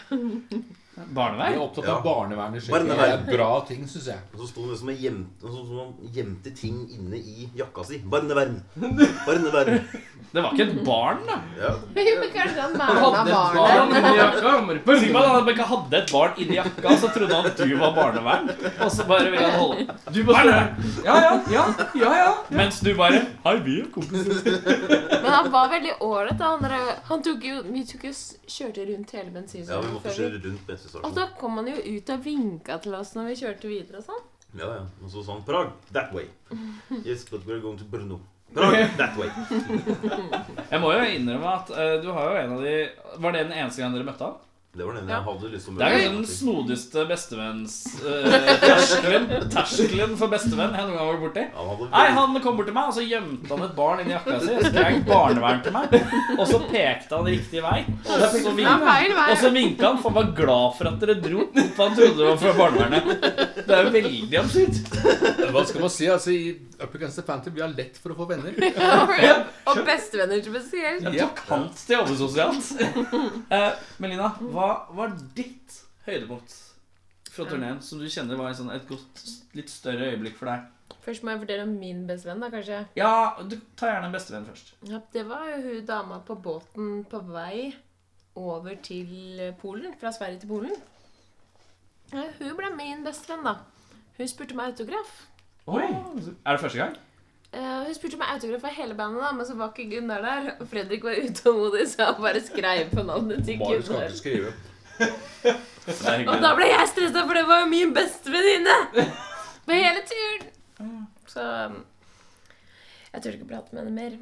C: Barnevei?
E: er opptatt av
H: Ja.
E: barnevernet. i Tsjekkia. Det
H: Barnevern.
E: er bra ting, syns jeg.
H: Og så sto han liksom og gjemte, sånn som han gjemte ting inne i jakka si. Barnevern! Barnevern!
C: Det var ikke et barn, da.
H: Ja.
D: Kanskje han verna
J: Hadde et barn inni jakka. han bare,
C: Si meg da at man ikke hadde et barn inni jakka, så trodde han at du var barnevern. Og så bare ville han holde
J: Du bare Ja, ja, ja. ja, ja.
C: Mens du bare Hei, vi er kompiser.
D: Men han var veldig ålreit. da. Han, der- han tok jo, vi tok jo, s- kjørte rundt hele
H: ja, vi
D: bensinstasjonen.
H: måtte
D: før vi-
H: kjøre rundt
D: og
H: bensinstasjonen.
D: da kom han jo ut og vinka til oss når vi kjørte videre og sånn.
H: Ja, ja. Og så sa han Prag, that way. Yes, but we're going to Brno. Prag, that way.
C: Jeg må jo innrømme at eh, du har jo en av de Var det den eneste gangen dere møtte han?
H: Det var den
D: Ja.
H: jeg hadde liksom- lyst til å
C: Det er jo
H: møte.
C: den snodigste bestevenns-terskelen Terskelen for bestevenn jeg noen gang har vært borti.
H: Han hadde
C: Nei, han kom bort til meg, og så gjemte han et barn inni jakka si. Og så skrek barnevern til meg, og så pekte han riktig vei. Og så
D: Ja,
C: vinka
D: feil
C: Og så
D: vei.
C: vinka han, for han var glad for at dere dro. For han trodde det var fra barnevernet. Det er jo veldig absurd.
E: Hva skal man si? altså I Up Against the Phantom, vi har lett for å få venner.
D: Og bestevenner spesielt.
C: Det er Tokant til oversosialt. Eh, Melina, hva var ditt høydepunkt fra turneen som du kjenner var en sånn et godt, litt større øyeblikk for deg?
D: Først må jeg fortelle om min bestevenn, da, kanskje.
C: Ja, du tar gjerne en bestevenn først.
D: Ja, det var jo hun dama på båten på vei over til Polen, fra Sverige til Polen. Eh, Hun ble min bestevenn, da. Hun spurte meg autograf.
E: Oi! Er det første gang?
D: Eh, hun spurte meg autograf av hele bandet, da, men så var ikke Gunnar der. Og Fredrik var utålmodig, så han bare skrev på navnet til
E: Marius kan
D: Gunnar.
E: ikke skrive.
D: Og da ble jeg stressa, for det var jo min bestevenninne! På hele turen! Så um, jeg turte ikke prate med henne mer.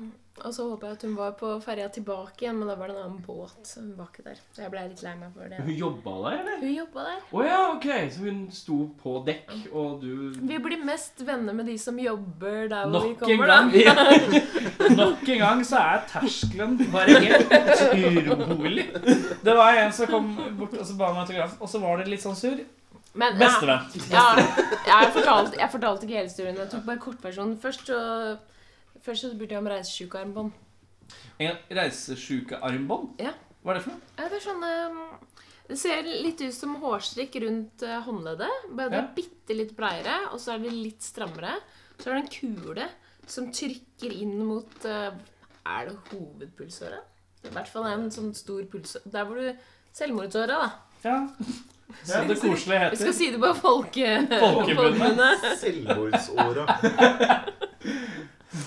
D: Og så håper jeg at hun var på ferja tilbake igjen, men da var det en annen båt. Så hun var ikke der. Så jeg ble litt lei meg for det.
C: Hun jobba der, eller?
D: Hun jobba der.
C: Å ja, ok. Så hun sto på dekk, og du
D: Vi blir mest venner med de som jobber der hvor vi
B: Nok en
D: kommer, da.
B: gang Nok en gang så er terskelen bare helt utrolig. Det var en som kom bort og så ba meg autograf, og så var det litt sånn sur.
D: Men,
B: Bestevenn.
D: Ja, jeg fortalte, jeg fortalte ikke hele historien. Jeg tok bare kortversjonen. Først så, først så burde jeg om reisesjukearmbånd.
B: En reisesjukearmbånd?
D: Ja.
B: Hva er det for noe?
D: Ja, det er sånne mm, Det ser litt ut som hårstrikk rundt eh, håndleddet. Bare det er
B: Ja.
D: bitte litt breiere, og så er det litt strammere. Så er det en kule som trykker inn mot eh, Er det hovedpulsåret? I hvert fall en sånn stor puls... Der hvor du Selvmordsåret, da.
B: Ja. Som det koselige
D: Vi skal
B: heter.
D: si det på folke...
B: Folkemunne.
H: Selvmordsåra.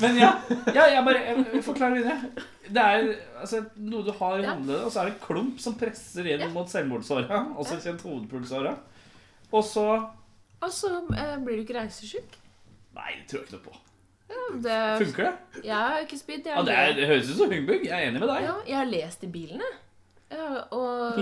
B: Men ja, ja jeg bare jeg forklarer videre. Det er altså, noe du har i
D: Ja.
B: håndleddet, og så er det en klump som presser inn mot selvmordsåra. Også kjent hovedpulsåra. Og så
D: Og så eh, blir du ikke reisesjuk.
B: Nei, det tror jeg ikke noe på.
D: Det,
B: Funker det?
D: jeg har ikke spydd. Jeg
B: Ja,
D: har
B: det, er, det høres ut som humbug. Jeg er enig med deg.
D: Ja, jeg har lest i bilen, jeg. Ja, og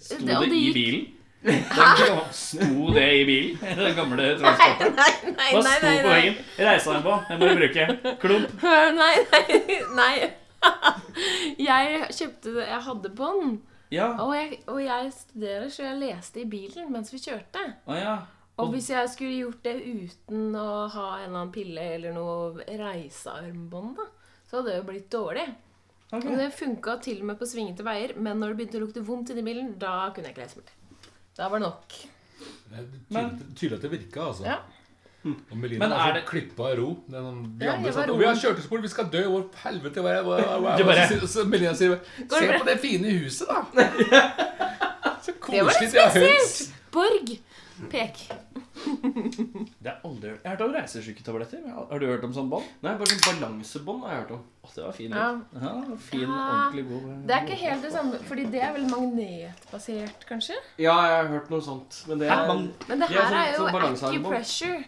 B: Sto
D: Det- og
B: det
D: det
B: i
D: gikk-
B: bilen? Den gamle, sto det i bilen? Den gamle transporten?
D: nei, nei,
B: Hva
D: nei,
B: sto
D: nei,
B: på veggen? Reisa den på? Den må du bruke. Klump.
D: Hør, nei, nei, nei. Jeg kjøpte det, jeg hadde bånd,
B: Ja.
D: og jeg, og jeg studerer, så jeg leste i bilen mens vi kjørte.
B: Å ja.
D: Og hvis jeg skulle gjort det uten å ha en eller annen pille eller noe reisearmbånd, da, så hadde det jo blitt dårlig.
B: Ok.
D: Og det funka til og med på svingete veier, men når det begynte å lukte vondt inni bilen, da kunne jeg ikke reise mer. Da var det nok.
E: Det er
B: Men-
E: tydelig, tydelig at det virka, altså.
D: Ja.
E: Og Melina
B: Men
E: er,
B: er
E: så
B: det-
E: klippa av ro. Det er noen- de
D: Ja,
E: andre
D: jeg
E: satt,
D: var
E: og vi har
D: ro.
E: kjørtespor, vi skal dø! Hvor helvete hva er det? Hva- hva- hva-
B: Du bare-
E: Så sier- Så Melina sier
D: Går
E: Se
D: det
E: på det fine huset, da! Så koselig
D: litt
E: det har hørt.
D: Borg! Pek.
B: Det er aldri Jeg har hørt om reisesyketabletter. Har du hørt om sånn bånd?
C: Nei, bare sånn balansebånd har jeg hørt om.
B: Å, det var fin.
D: Ja.
B: Ja, fin,
D: Ja.
B: ordentlig god
D: Det er ikke helt det samme, fordi det er vel magnetbasert, kanskje?
C: Ja, jeg har hørt noe sånt. Men det
B: Hæ? Man-
D: Men det
C: Det er
D: her
C: sånn-
D: er jo
C: sånn balansearmbånd.
D: acupressure.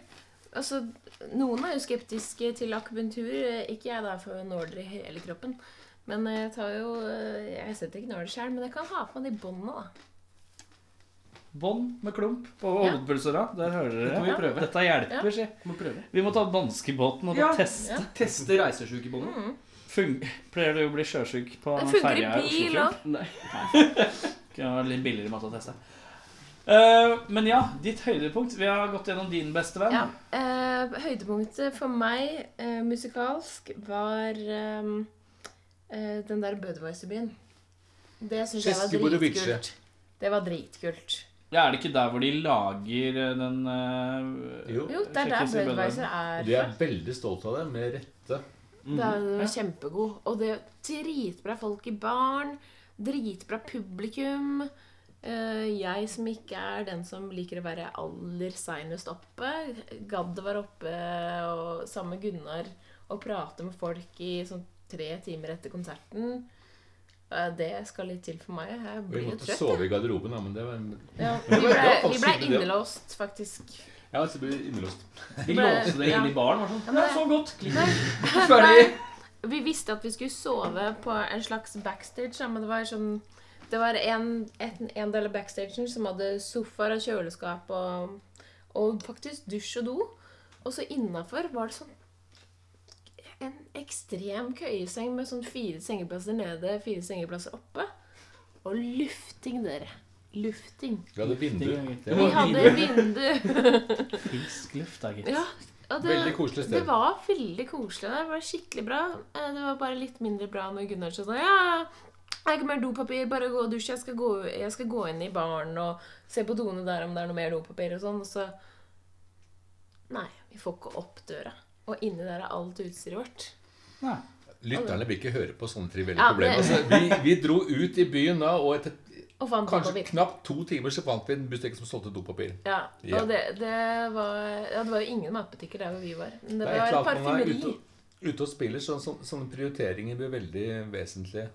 D: Altså, noen er jo skeptiske til akupunktur. Ikke jeg, da, for jeg nåler i hele kroppen. Men eh, jeg tar jo eh, Jeg setter ikke nåler sjøl, men jeg kan ha på meg de båndene, da.
B: Bånd med klump på
D: Ja.
B: hovedpulsåra. Der hører dere.
C: må vi prøve.
B: Dette hjelper, si.
C: Må prøve.
B: Vi må ta danskebåten og
C: Ja.
B: teste.
C: Teste reisesjukebåndet.
B: Fung Pleier du å bli sjøsjuk på
D: Den
B: ferja
D: Mm.
B: i
D: funker i bil
B: Oslofjorden?
D: òg.
C: Nei.
B: Kunne vært litt billigere måte å teste. Eh, men ja, ditt høydepunkt. Vi har gått gjennom din bestevenn.
D: Ja. Eh, høydepunktet for meg eh, musikalsk var eh, eh, den der Budwiser-byen. Det syns jeg var
E: Sist du bodde i Bydse.
D: dritkult. Det var dritkult.
B: Ja, Er det ikke der hvor de lager eh, den eh,
E: Jo.
D: Jo, det er der
B: Sjekkes i
D: Budwiser er.
E: De er veldig stolte av det, med rette.
D: Det er jo kjempegod. Og det er dritbra folk i baren. Dritbra publikum. Eh, Jeg som ikke er den som liker å være aller seinest oppe. Gadd å være oppe og sammen med Gunnar og prate med folk i sånn tre timer etter konserten. Eh, Det skal litt til for meg. Jeg
E: Vi
D: blir jo
E: måtte
D: trøtt.
E: sove i garderoben, da, men det var en...
D: Ja, vi ble, vi
E: Ja,
D: ble
E: absolutt, ja.
D: innelåst, faktisk.
E: Ja, altså, det ble innelåst.
C: De
D: Bare-
C: låste det inn i baren. var sånn,
D: men-
C: Det er så godt! Klikk.
D: Nei, vi visste at vi skulle sove på en slags backstage, da, men det var sånn Det var en, en, en del av backstagen som hadde sofaer og kjøleskap og, og faktisk dusj og do. Og så innafor var det sånn en ekstrem køyeseng med sånn fire sengeplasser nede, fire sengeplasser oppe. Og lufting, dere. Lufting.
E: Vi hadde vindu.
D: Vi
E: Det var
D: hadde vindu.
B: Frisk luft, da, gitt.
D: Ja, og det,
E: veldig koselig
D: det
E: sted.
D: var veldig koselig. Det var skikkelig bra. Eh, Det var bare litt mindre bra når Gunnar sa sånn Ja, jeg har ikke mer dopapir, bare gå og dusj. Jeg skal gå, jeg skal gå inn i baren og se på doene der om det er noe mer dopapir og sånn. Og så Nei, vi får ikke opp døra. Og inni der er alt utstyret vårt.
B: Nei.
E: Lytterne vil ikke høre på sånne trivielle
D: Ja, men-
E: problemer. Altså, vi, vi dro ut i byen da, og etter
D: Og fant
E: kanskje
D: papir.
E: knapt to timer så fant vi en butikk som solgte dopapir.
D: Ja,
E: Ja.
D: og det, det, var, ja, det var jo ingen matbutikker der hvor vi var. Men det
E: er et
D: var
E: eller annet når man er
D: parfymeri.
E: Ute, ute og spiller, så, så, sånne prioriteringer blir veldig vesentlige.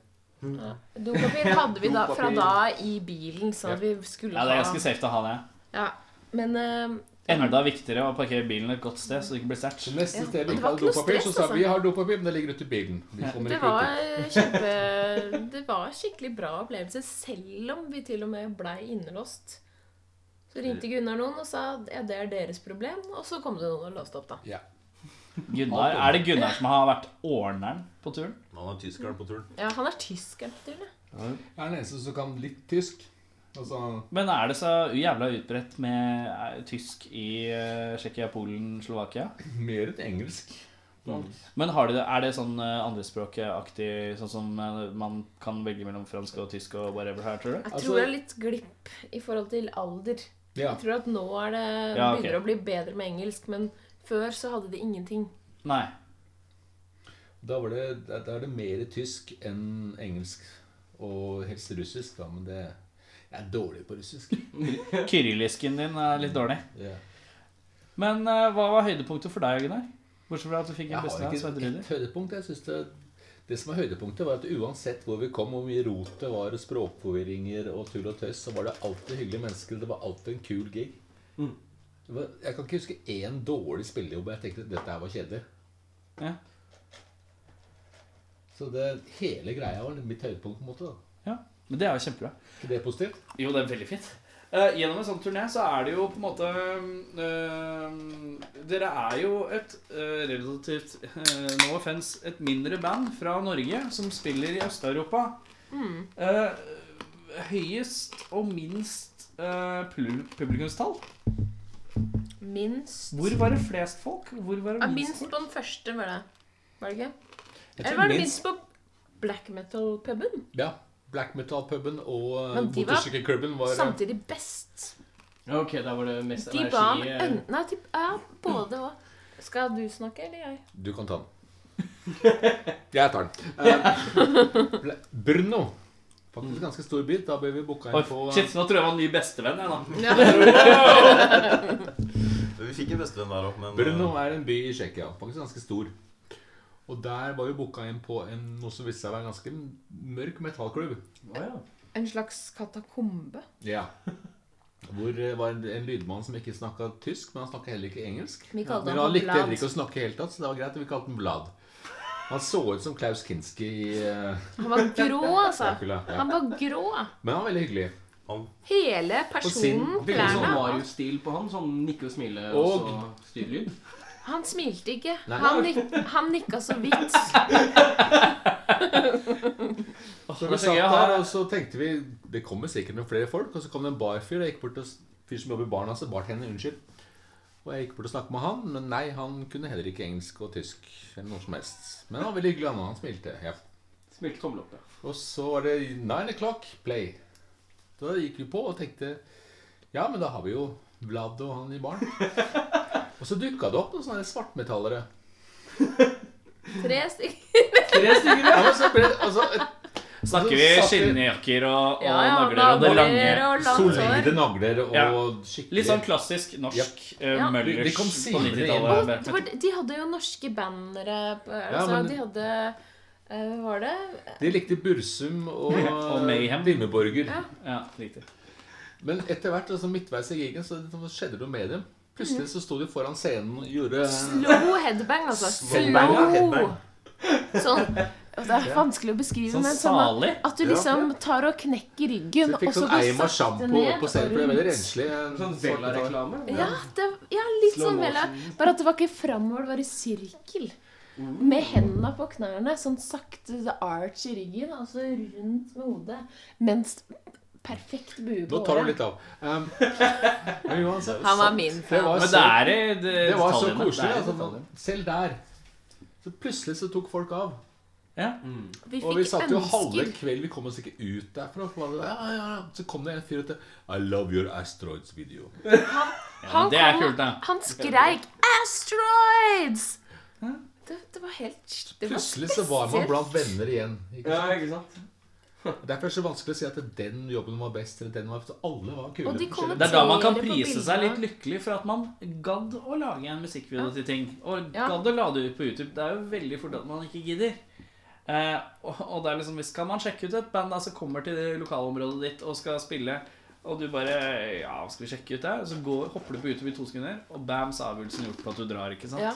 D: Ja. Dopapir hadde vi da, fra
E: Dopapir.
D: da i bilen, så vi skulle
B: Ja, det er ganske safe å ha det.
D: Ja, men eh,
B: Enda viktigere å parkere bilen et godt sted, så det ikke blir stæsj.
E: Så neste
D: Ja,
E: sted
D: det
E: vi ikke
D: var
E: hadde
D: ikke noe
E: dopapir, så
D: stress,
E: sa
D: altså.
E: vi har dopapir, men det ligger ute i bilen. Vi kommer
D: det
E: ikke
D: var
E: ut.
D: kjempe Det var skikkelig bra opplevelse, selv om vi til og med blei innelåst. Så ringte Gunnar noen og sa ja, det er deres problem, og så kom det noen og låste opp, da.
E: Ja.
B: Gunnar, er det Gunnar som har vært ordneren på turen?
H: Han er tyskeren på turen.
D: Ja, han er tysker, tror jeg.
E: Jeg er den eneste som kan litt tysk. Altså,
B: Men er det så jævla utbredt med eh, tysk i eh, Tsjekkia, Polen, Slovakia?
E: mer enn engelsk.
B: Men har de det, er det sånn eh, andrespråkaktig, sånn som eh, man kan velge mellom fransk og tysk og whatever her, tror du?
D: Jeg
E: Altså-
D: tror det er litt glipp i forhold til alder.
E: Ja.
D: Jeg tror at nå er det
B: Ja, ok.
D: begynner å bli bedre med engelsk, men før så hadde de ingenting.
B: Nei.
E: Da, var det, da da er det mer tysk enn engelsk. Og helst russisk, da, men det Jeg er dårlig på russisk.
B: Kyrillisken din er litt dårlig.
E: Ja.
B: Men eh, hva var høydepunktet for deg, Gunnar? Bortsett fra at du fikk
E: Jeg
B: en
E: har
B: beste av
E: ikke
B: Svein
E: et
B: Ruder.
E: høydepunkt. Jeg synes det, det som var høydepunktet, var at uansett hvor vi kom, hvor mye rot det var, og språkforvirringer og tull og tøys, så var det alltid hyggelige mennesker. Det var alltid en kul gig. Det var, jeg kan ikke huske én dårlig spillejobb. Jeg tenkte dette her var kjedelig.
B: Ja.
E: Så det, hele greia var mitt høydepunkt. på en måte da.
B: ja. Men det er jo kjempebra.
E: Ikke det positivt?
B: Jo, det er veldig fint. Eh, gjennom en sånn turné så er det jo på en måte eh, Dere er jo et eh, relativt eh, No offense et mindre band fra Norge som spiller i Øst-Europa.
D: Mm.
B: Eh, høyest og minst eh, plu- publikumstall.
D: Minst.
B: Hvor var det flest folk? Hvor var
D: Ja,
B: det minst
D: minst på
B: folk?
D: den første, var det. Var det ikke?
E: Jeg
D: Eller
E: tror
D: var det minst på black metal-puben?
E: Ja. Black metal-puben og
D: Men de var-
E: motorsykkelklubben var eh,
D: Samtidig best.
C: Ok, da var det mest
D: De ba om
C: eh,
D: en- Nei, de, ja, både òg. Skal du snakke, eller jeg?
E: Du kan ta den. Jeg tar den. Eh, Ble- Brno. Faktisk ganske stor by. Da ble vi booka
B: Oi,
E: inn på
B: shit, nå tror jeg jeg var en ny bestevenn. jeg, da.
H: Men Vi fikk en bestevenn der opp, men
E: eh, Brno er en by i Tsjekkia. Faktisk ganske stor. Og der var vi booka inn på en, noe som viste seg å være en ganske mørk metallklubb.
D: En slags katakombe.
E: Ja. Hvor det var en, en lydmann som ikke snakka tysk, men han snakka heller ikke engelsk.
D: Vi kalte
E: Men
D: han
E: han
D: for
E: likte heller
D: Vlad.
E: ikke å snakke i hele tatt, så det var greit. at Vi kalte han Vlad. Han så ut som Klaus Kinski i eh,
D: Han var grå, altså.
E: Dracula. Ja.
D: Han var grå.
E: Men han var veldig hyggelig.
D: Hele
E: sin-
D: personen,
E: det er
C: Sånn
D: klærne.
C: Marius-stil på han. Sånn nikke og smile og,
E: Og-
C: så styrlyd.
D: Han smilte ikke.
E: Nei.
D: Han, nik han nikka så vidt.
E: Så vi
B: så
C: Altså,
E: satt
B: gøy å ha-
E: der, og så tenkte vi Det kommer sikkert noen flere folk. Og så kom det en barfyr. Jeg gikk bort til s- fyr som jobber i baren hans. Altså bartender, unnskyld. Og jeg gikk bort og snakket med han, men nei, han kunne heller ikke engelsk og tysk. Eller noe som helst. Men han var veldig hyggelig, han, og han smilte. Ja.
C: Smilte tommel opp, ja.
E: Og så var det nine o'clock play. Da gikk vi på og tenkte Ja, men da har vi jo Vlad og han i baren. Og så dukka det opp noen sånne svartmetallere.
D: Tre stykker.
E: Ja, men så ble det, altså,
B: Snakker vi skinnjakker og, og
D: Ja, ja,
B: nagler og det
D: nagler
B: lange?
D: og langt hår.
E: solide nagler og
B: Ja.
E: skikkelig
B: Litt sånn klassisk norsk eh,
D: Ja.
B: Møllers
E: De kom
B: på
E: senere
D: Og
B: 90-tallet.
D: det var- De hadde jo norske bannere. på- Altså,
E: men-
D: De hadde eh, Hva var det?
E: De likte Bursum og,
B: Og Mayhem.
E: Vimmeborger.
D: Ja.
B: Ja, riktig.
E: Men etter hvert, altså midtveis i gigen, så skjedde det noe med dem.
D: Mm.
E: Plutselig så sto de foran scenen og gjorde
D: Slow headbang, altså.
H: Headbang, ja,
D: Slow.
H: headbang.
D: Sånn. og Det er vanskelig å beskrive,
B: Sånn
D: men som at-
B: salig.
D: at du liksom tar og knekker ryggen,
E: Så de
D: og
E: fikk
D: så
E: sånn
D: blir
E: Eima
D: sakte
E: sjampo
D: ned.
E: opp på scenen, for det er veldig renslig.
C: Sånn
E: Sånn
C: Vela-reklame.
D: Ja, det, ja litt
C: Slow
D: sånn Vela. Bare at det var ikke framover, det var i sirkel. Med hendene på knærne, sånn sakte så arch i ryggen, altså rundt med hodet. Mens perfekt bue på
E: Nå tar hun
D: håret.
E: litt av. Um, men uansett,
D: Han var min
E: det
D: fan.
E: var
B: Men
E: så,
B: det er i det,
E: det var så
B: detaljene.
E: koselig.
B: Det er i
E: Altså,
B: detaljene.
E: man- selv der. Så plutselig så tok folk av.
B: Ja.
D: Vi
E: Og vi
D: fikk
E: satt jo halve
D: ønsker.
E: kveld, vi kom oss ikke ut derfra. For det, ja, ja, ja. Så kom det en fyr og sa 'I love your asteroids video'.
D: Han,
B: det er
D: kom-
B: kult, da.
D: han skreik 'Asteroids'! Det, det var helt det var
E: Plutselig så var man
D: spesielt.
E: blant venner igjen. Ikke sant?
K: ikke sant?
E: Derfor er det så vanskelig å si at den jobben var best. Eller den var best. Alle var kule.
D: Og de kommer-
E: forskjellige.
C: Det er da man kan
D: Ser det på
C: prise
D: bildene.
C: seg litt lykkelig for at man gadd å lage en musikkvideo til ting. Og
D: Ja.
C: gadd å lade ut på YouTube. Det er jo veldig fort at man ikke gidder. Eh, og, og det er liksom, hvis kan man sjekke ut et band da, som kommer til det lokalområdet ditt og skal spille, og du bare Ja, skal vi sjekke ut det? Så går, hopper du på YouTube i to sekunder, og bam, så er avgjørelsen gjort på at du drar, ikke sant?
D: Ja.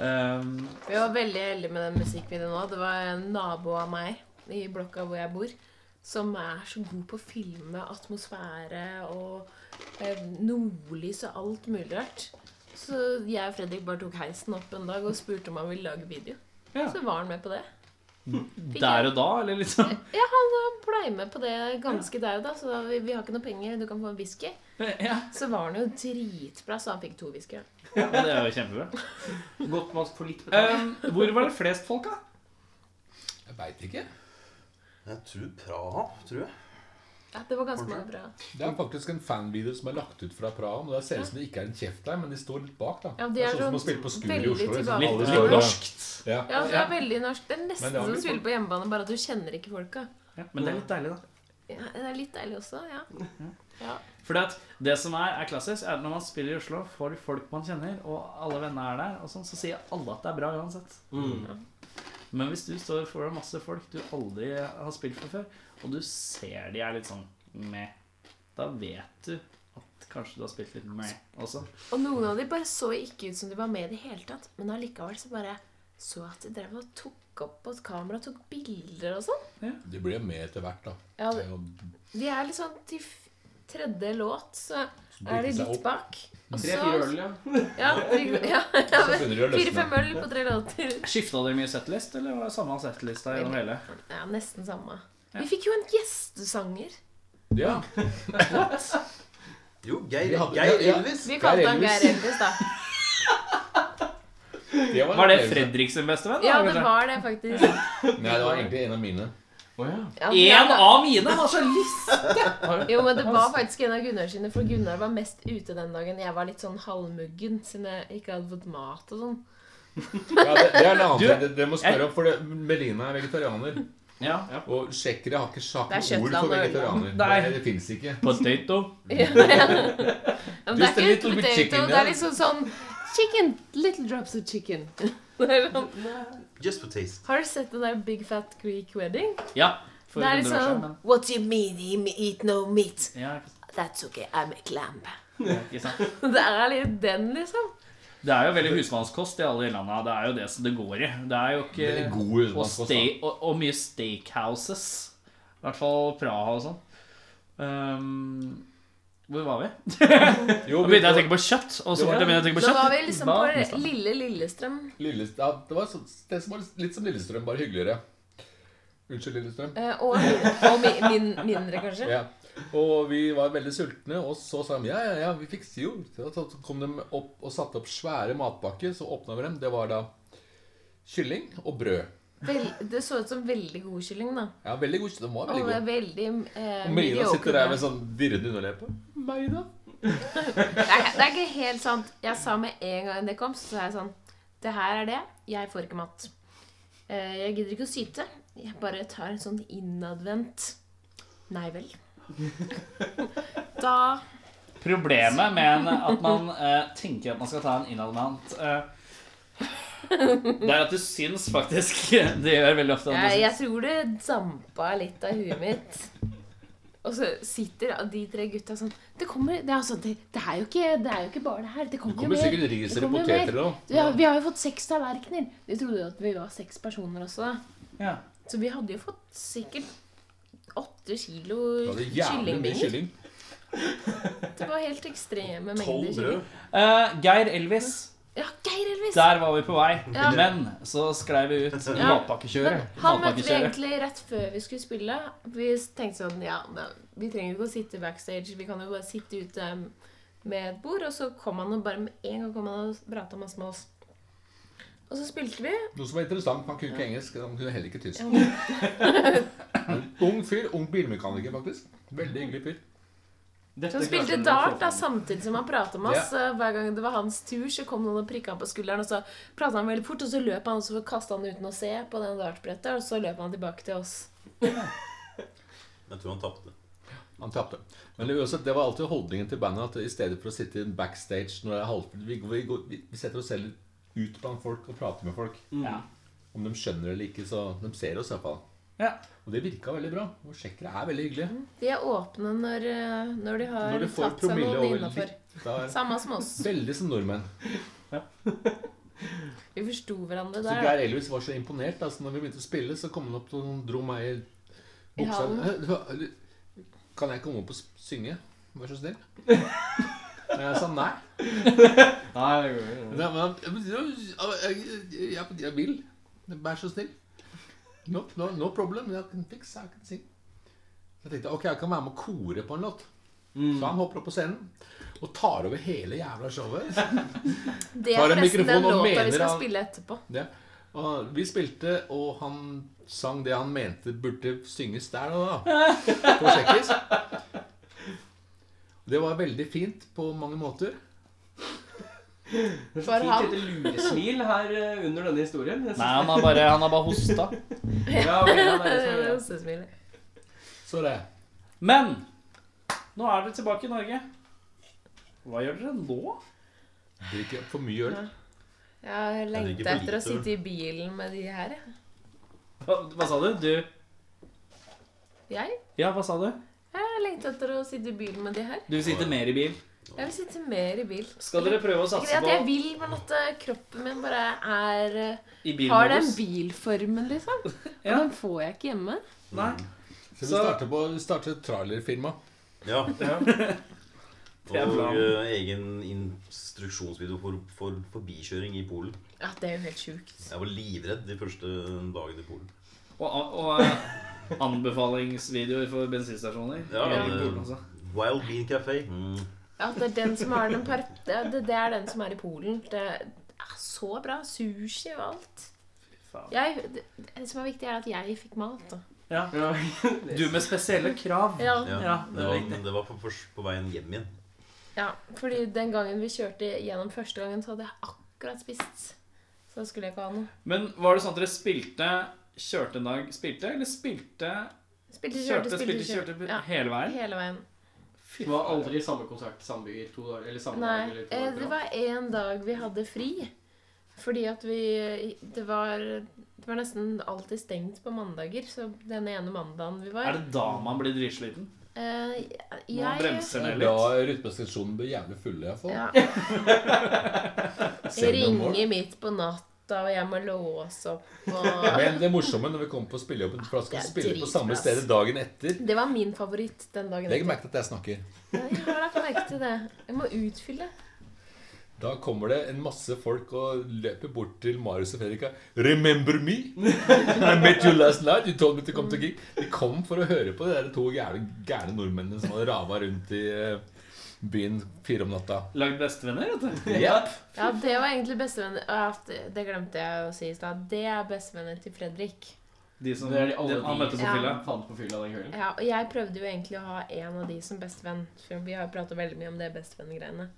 C: Ehm,
D: Vi var veldig heldige med den musikkvideoen òg. Det var en nabo av meg i blokka hvor jeg bor, som er så god på å filme atmosfære og eh, nordlys og alt mulig rart. Så jeg og Fredrik bare tok heisen opp en dag og spurte om han ville lage video.
C: Ja. Mm.
D: Så var han med på det.
C: der og da, eller liksom?
D: Ja, han eh, blei med på det ganske der og da, så da, vi, vi har ikke noe penger, du kan få en whisky.
C: ja.
D: Så var han jo dritbra, så han fikk to whiskyer.
C: ja, men det er jo kjempebra. Godt med oss på litt betalt. Ehm, hvor var det flest folk, da?
E: Jeg veit ikke.
H: Jeg tror Praha, tror jeg.
D: Ja, det var ganske mange bra.
E: Det er faktisk en fanvideo som er lagt ut fra Praha. Og det ser ut som det ikke er en kjeft der, men de står litt bak. da
D: Ja, de
E: Det
D: er
E: er sånn
D: sånn
E: som å spille på Skuret i
D: veldig
E: Oslo. liksom.
D: tilbake-
E: Alle
C: Litt,
D: det
C: litt
E: står
D: var-
E: der.
C: norskt.
E: Ja.
D: Ja, det er veldig norsk. Det er
E: Men
D: nesten
E: det er
D: som å
E: litt
D: spille på hjemmebane, bare at du kjenner ikke folka.
C: Men det er litt deilig, da.
D: Ja, det er litt deilig også, ja.
C: Fordi at det som er, er klassisk, er at når man spiller i Oslo for folk man kjenner, og alle venner er der, og sånn, så sier alle at det er bra uansett. Men hvis du står foran masse folk du aldri har spilt for før, og du ser de er litt sånn meh, da vet du at kanskje du har spilt litt meh også.
D: Og noen av de bare så ikke ut som de var med i det hele tatt. Men allikevel så bare så at de drev og tok opp på et kamera, tok bilder og sånn.
E: De blir jo med etter hvert, da.
D: Ja,
E: Det er jo-
D: de er litt sånn til f- tredje låt, så er de
E: bryter seg
D: litt
E: opp.
D: bak. Og så
C: ja.
D: Ja, tre- ja, ja,
E: Så begynner de å løsne.
D: Fire-fem øl på tre låter.
C: Skifta dere mye settlist, eller var det samme settlista gjennom hele?
D: Ja, nesten samme. Vi fikk jo en gjestesanger.
E: Ja.
H: eh, Jo, Geir,
E: Vi hadde-
H: Geir
E: ja, ja.
H: Elvis.
D: Vi kalte han
E: Elvis.
D: Geir Elvis, da.
E: Det var, en
C: Var det
E: opplevelse.
C: Fredrik sin beste venn? da,
D: Ja, det
C: kanskje?
D: var det, faktisk.
E: Nei, det var egentlig en av mine.
D: Ja,
C: En
D: ja.
C: av mine har så lyst!
D: Jo, men det var faktisk en av Gunnar sine, for Gunnar var mest ute den dagen. Jeg var litt sånn halvmuggen, siden jeg ikke hadde fått mat og sånn.
E: Ja, det, det er en annen
C: Du-
E: ting. Det, det må spørre om, for det, Melina er vegetarianer.
C: Ja, ja.
E: Og tsjekkere har ikke sagt
D: Det er
E: noe ord
D: Shetland
E: for
D: og Ørland.
E: vegetarianer.
C: Nei.
E: Det, det fins ikke.
C: Potato.
D: Ja, Men det er
E: Just a
D: ikke
E: little bit
D: potato,
E: chicken,
D: det
E: ja.
D: er liksom sånn Chicken, little drops of chicken. Det er sånn.
H: Just for taste.
D: Har du sett den der Big Fat Greek Wedding?
C: Ja. For
D: Det er
C: 100 år siden,
D: liksom
C: men-
D: What do you mean you eat no meat?
C: Ja, ikke sant.
D: That's okay, I'm a clam.
C: Ikke sant?
D: Det er litt den, liksom.
C: Det er jo veldig husmannskost i alle de landa. Det er jo det som det går i. Det er jo ikke
E: Veldig god
C: og,
E: husmannskost. da.
C: ste- og, og mye steakhouses. I hvert fall Praha og sånn. Ehm, hvor var vi?
E: Jo,
C: Nå
E: vi-
C: begynte jeg å tenke på kjøtt. Og så fort jeg begynte å tenke på
D: Da
C: kjøtt
D: var vi liksom
C: da-
D: på lille Lillestrøm.
E: Lille- ja, det var sånn- det som var litt som Lillestrøm, bare hyggeligere. Unnskyld, Lillestrøm.
D: eh, Og, og mi, min, mindre, kanskje.
E: Ja. Og vi var veldig sultne, og så sa de ja, ja, ja, vi fikser jo. Så så kom de opp og satte opp svære matpakker, så åpna vi dem. Det var da kylling og brød.
D: Vel, det så ut som veldig god kylling, da.
E: Ja, veldig god. Den var
D: Og
E: veldig
D: det er
E: god.
D: veldig eh,
E: Og Melina
D: mediocre.
E: sitter der med sånn dirrende underleppe. Meg, da?
D: Nei, det er ikke helt sant. Jeg sa med en gang det kom, så sa jeg sånn Det her er det. Jeg får ikke mat. Eh, jeg gidder ikke å syte. Jeg bare tar en sånn innadvendt Nei vel. da
C: Problemet med en, at man eh, tenker at man skal ta en innadvendt eh, Det er at du syns faktisk Det gjør veldig ofte at du
D: jeg,
C: syns.
D: jeg tror det dampa litt av huet mitt. Og så sitter de tre gutta sånn Det kommer Det er, altså, det, det er, jo, ikke, det er jo ikke bare det her. Det
E: Det
D: kommer, jo
E: kommer
D: mer.
E: sikkert
D: Det
E: ris eller
D: kommer
E: poteter
D: mer.
E: eller noe.
D: Ja, vi har jo fått seks tallerkener. De trodde jo at vi var seks personer også. da.
C: Ja.
D: Så vi hadde jo fått sikkert åtte kilo
E: Da er det jævlig mye
D: kyllingbinger.
E: kylling.
D: Det var helt ekstreme
H: Tolv
D: mengder
H: brød.
D: kylling.
C: Eh, Geir Elvis.
D: Ja, Geir Elvis!
C: Der var vi på vei.
D: Ja.
C: Men så sklei vi ut i
D: Ja. Men
C: matpakkekjøret.
D: han møtte vi
C: Matpakkekjøret.
D: egentlig rett før vi skulle spille. Vi tenkte sånn Ja, da- vi trenger jo ikke å sitte backstage. Vi kan jo bare sitte ute med et bord. Og så kom han og bare med en gang kom han og prata masse med oss. Og så spilte vi.
E: Noe som var interessant, han kunne ikke engelsk, han kunne heller ikke tysk. ung fyr, ung bilmekaniker faktisk. Veldig hyggelig fyr.
L: Dette
D: Som spilte
L: klarte han å få
D: dart da,
L: fram.
D: samtidig som han prata med oss. Eh, Hver gang det var hans tur, så kom noen og prikka han på skulderen. Og så prata han veldig fort, og så løp han, og så kasta han uten å se på den dartbrettet. Og så løp han tilbake til oss.
H: Jeg tror han tapte.
E: Han tapte. Men uansett, det var alltid holdningen til bandet at i stedet for å sitte backstage når det er halvfullt vi, går- vi, går- vi, vi setter oss selv ut blant folk og prater med folk.
B: Ja.
E: Om de skjønner det eller ikke, så de ser oss i hvert fall.
B: Ja.
E: Og det virka veldig bra. Og tsjekkere er veldig hyggelige.
D: De er åpne når, eh, når de har
E: Når de får
D: tatt seg
E: promille
D: noen
E: over
D: innafor.
E: litt, da er
D: Samme som oss.
E: Veldig som nordmenn.
D: Vi forsto hverandre
E: Så
D: der. da.
E: Geir Elvis var så imponert. Altså, når vi begynte å spille, så kom han opp og dro meg i
D: I halen.
E: buksa. Kan jeg komme opp og s- synge? Vær så snill. Men jeg sa nei.
L: Nei, det går jo.
E: Nei, men han- jeg, jeg, jeg, jeg vil. Vær så snill. No, no, no problem. I can fix, I can sing. Jeg tenkte ok, jeg kan være med og kore på en låt. Så han hopper opp på scenen og tar over hele jævla showet.
D: Det
E: Tar
D: er forresten den
E: en mikrofon og
D: låta
E: mener
D: vi skal
E: han-
D: spille etterpå.
E: Det. Og vi spilte, og han sang det han mente burde synges der og da. På tsjekkisk. Det var veldig fint på mange måter.
L: Det er
D: For
L: så
D: han.
L: fint lite luresmil her eh, under denne historien. Jeg synes-
B: Nei, han har bare, han har bare hosta.
L: Ja, ok, ja, det
D: Det
L: er liksom- det som
D: er
L: er
D: det
L: greia.
D: hostesmilet.
E: Så det.
B: Men nå er dere tilbake i Norge. Hva gjør dere nå?
E: Drikker for mye øl.
D: Jeg
H: ikke
D: lengta
H: for
D: etter å
H: lite, vel?
D: sitte i bilen med de her, jeg.
B: Hva, hva sa du? Du
D: jeg.
B: Ja, hva sa du?
D: Jeg lengta etter å sitte i bilen med de her.
B: Du sitter mer i bil.
D: Jeg vil sitte mer i bil.
B: Skal dere prøve å
D: Ikke det
B: satse
D: at jeg
B: på
D: vil, men at eh, kroppen min bare er eh,
B: i
M: Har den
B: bilmodus?
M: bilformen, liksom? Og
B: Ja.
M: den får jeg ikke hjemme.
B: Nei.
E: Så vi
B: Så-
E: starter på vi starter et trailerfirma.
H: Ja.
B: er
H: Og
B: planen.
H: eh, egen instruksjonsvideo for, for forbikjøring i Polen.
D: Ja, det er jo helt sjukt.
H: Jeg var livredd de første eh, dagene i Polen.
B: Og, og eh, anbefalingsvideoer for bensinstasjoner.
H: Ja,
B: I
H: det-
B: Polen, altså.
H: Wild Bean Café. Mm.
D: Ja, det er den som har den par... Det, det- det er den som er i Polen. Det er så bra. Sushi og alt.
B: Faen.
D: Jeg, det, det som er viktig, er at jeg fikk mat. Da.
L: Ja.
B: Du med spesielle krav.
D: Ja.
H: Ja,
B: Ja, det
H: det
B: er
H: var,
B: riktig.
H: det var på, først på veien hjem igjen.
D: ja, fordi den gangen vi kjørte gjennom første gangen, så hadde jeg akkurat spist. Så da skulle jeg ikke ha noe.
B: Men var det sånn at dere spilte, kjørte en dag, spilte, eller spilte, kjørte,
D: Spilte,
B: spilte,
D: kjørte, spilte,
B: kjørte
D: kjørte. Ja,
B: hele veien?
D: hele veien.
L: Det var aldri samme konsert samme byer to dager eller samme dag
D: Nei,
L: eller to
D: eh,
L: dager på
D: det
L: rad.
D: var en dag vi hadde fri. Fordi at vi Det var, det var nesten alltid stengt på mandager, så den ene mandagen vi
B: Er
D: var
B: det da man blir dritsliten?
D: eh,
B: Når man
D: Jeg
B: bremser ned
E: Da
B: litt?
E: rytmestasjonen ble jævlig fulle, iallfall.
D: ja,
E: Selv om mål.
D: ringer midt på natta, og jeg må låse opp og
E: Men det morsomme når vi kom på spillejobben, for da
D: Det
E: skal vi
D: er
E: spille på
D: dritbra,
E: samme
D: ass.
E: sted dagen etter.
D: Det var min favoritt den dagen.
E: Legg
D: etter.
E: merke til at jeg snakker.
D: Ja, Jeg har lagt merke til det. Jeg må utfylle.
E: Da kommer det en masse folk og løper bort til Marius og Fredrika. 'Remember me? I met you last night. You told me to come to gig.' De kom for å høre på de der to gærne, gærne nordmennene som hadde rava rundt i eh, byen fire om natta.
B: Lagd bestevenner, vet du.
E: Yep.
D: Ja, det var egentlig bestevenner ja, det- Det glemte jeg å si i stad. Det er bestevennen til Fredrik.
B: De som
L: Det er de alle
B: de, han
L: de
B: møtte på
D: Ja.
B: fylla.
L: som fant på fylla den kvelden.
D: Ja, og jeg prøvde jo egentlig å ha en av de som bestevenn. For vi har jo prata veldig mye om det bestevenngreiene.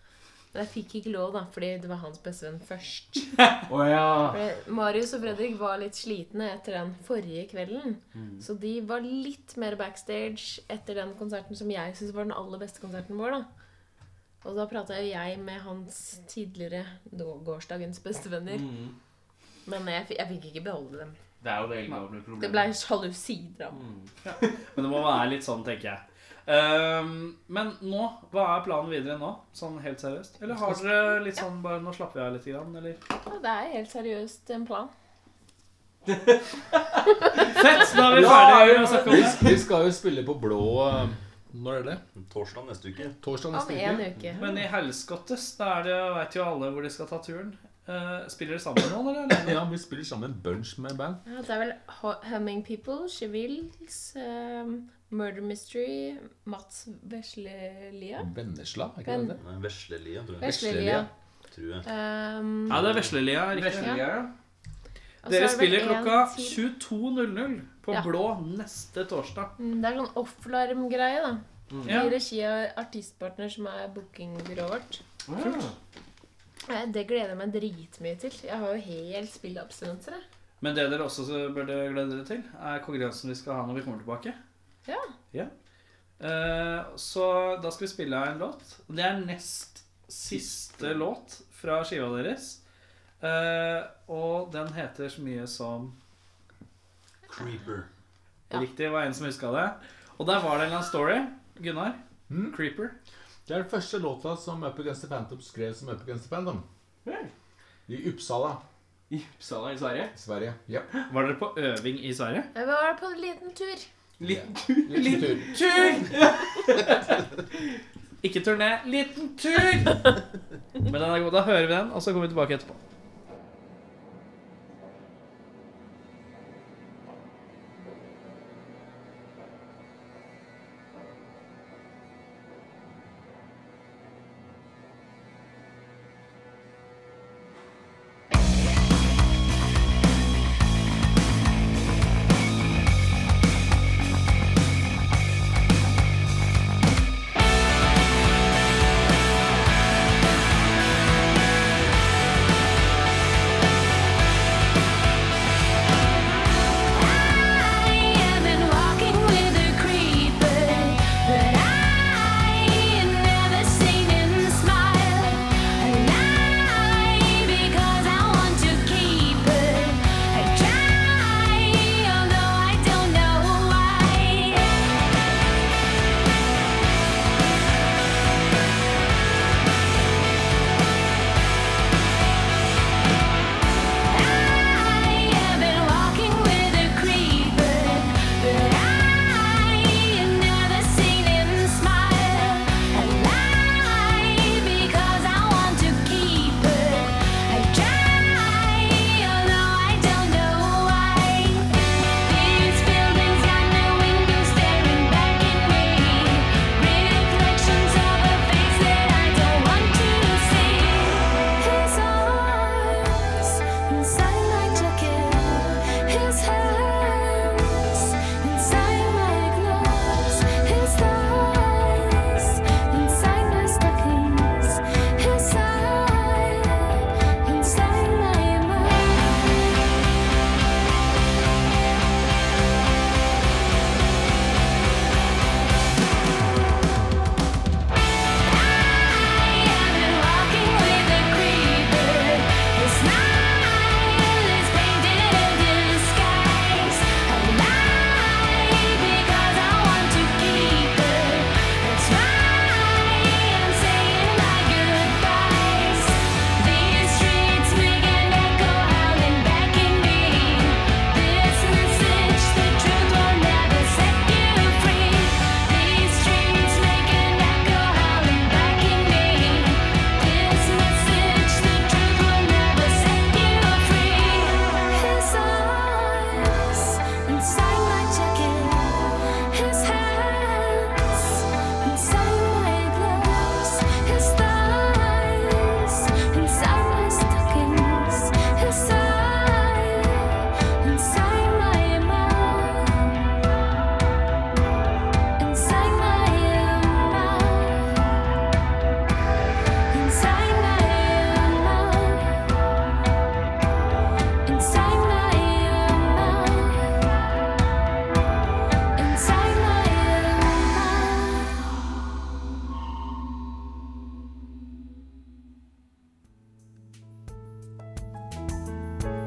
D: Men jeg fikk ikke lov, da, fordi det var hans bestevenn først.
L: Å ja.
D: For Marius og Fredrik var litt slitne etter den forrige kvelden. Så de var litt mer backstage etter den konserten som jeg syns var den aller beste konserten vår, da. Og da prata jo jeg med hans tidligere nå- gårsdagens bestevenner.
L: Mm.
D: Men jeg, fi- jeg fikk ikke beholde dem.
L: Det er jo det eldgamle problemet.
D: Det ble sjalusidrama.
L: Mm.
B: Men det må være litt sånn, tenker jeg. Ehm, men nå, hva er planen videre nå? Sånn helt seriøst? Eller har dere litt sånn bare Nå slapper vi av litt, grann, eller?
D: Ja, det er helt seriøst en plan.
B: Fett! Da er vi
E: Ja,
B: ferdige med å snakke
E: Vi,
B: om det.
E: vi skal jo spille på Blå eh, Når er det?
H: Torsdag neste uke.
E: Torsdag
D: Om
E: neste
D: en
E: uke?
D: uke.
B: Men i helskottes, da er det, vet jo alle hvor de skal ta turen. Eh, spiller dere sammen nå, eller? alene?
E: Ja, vi spiller sammen en bunch med band.
D: Ja, det er vel Ho- Humming People, Chevilles, ehm, Murder Mystery, Mats Veslelia
E: Vennesla, er ikke det det?
H: Nei, Veslelia, tror jeg.
D: Veslelia.
H: Tror jeg.
D: Um,
B: Ja, det er Veslelia. riktig.
L: Veslelia, ja.
B: Dere spiller klokka 22.00 på
D: Ja.
B: Blå neste torsdag.
D: Mm, Det er sånn offlarm-greie, da.
B: Mm.
D: I regi av Artistpartner, som er bookingbyrået vårt.
C: Ah.
D: Eh, Det gleder jeg meg dritmye til. Jeg har jo helt spillabstinenser. jeg.
N: Men det dere også burde glede dere til, er konkurransen vi skal ha når vi kommer tilbake.
D: Ja.
N: Eh, Så da skal vi spille av en låt. Det er nest siste låt fra skiva deres. Eh, Og den heter så mye som
H: Creeper.
D: Ja.
N: Riktig, det var en som huska det. Og der var det en eller annen story. Gunnar.
C: Hmm?
E: Mm.
N: Creeper.
E: Det er den første låta som Up Against the Phantom skrev som Up Against the Phantom.
C: Vel.
E: I Uppsala,
C: I Uppsala i Sverige.
E: Sverige. Ja.
N: Var dere på øving i Sverige?
D: Vi var på en liten tur.
C: Liten
E: Ja.
C: tur.
E: Liten tur.
N: tur! Ikke turné, liten tur! Men den er god. Da hører vi den, og så kommer vi tilbake etterpå.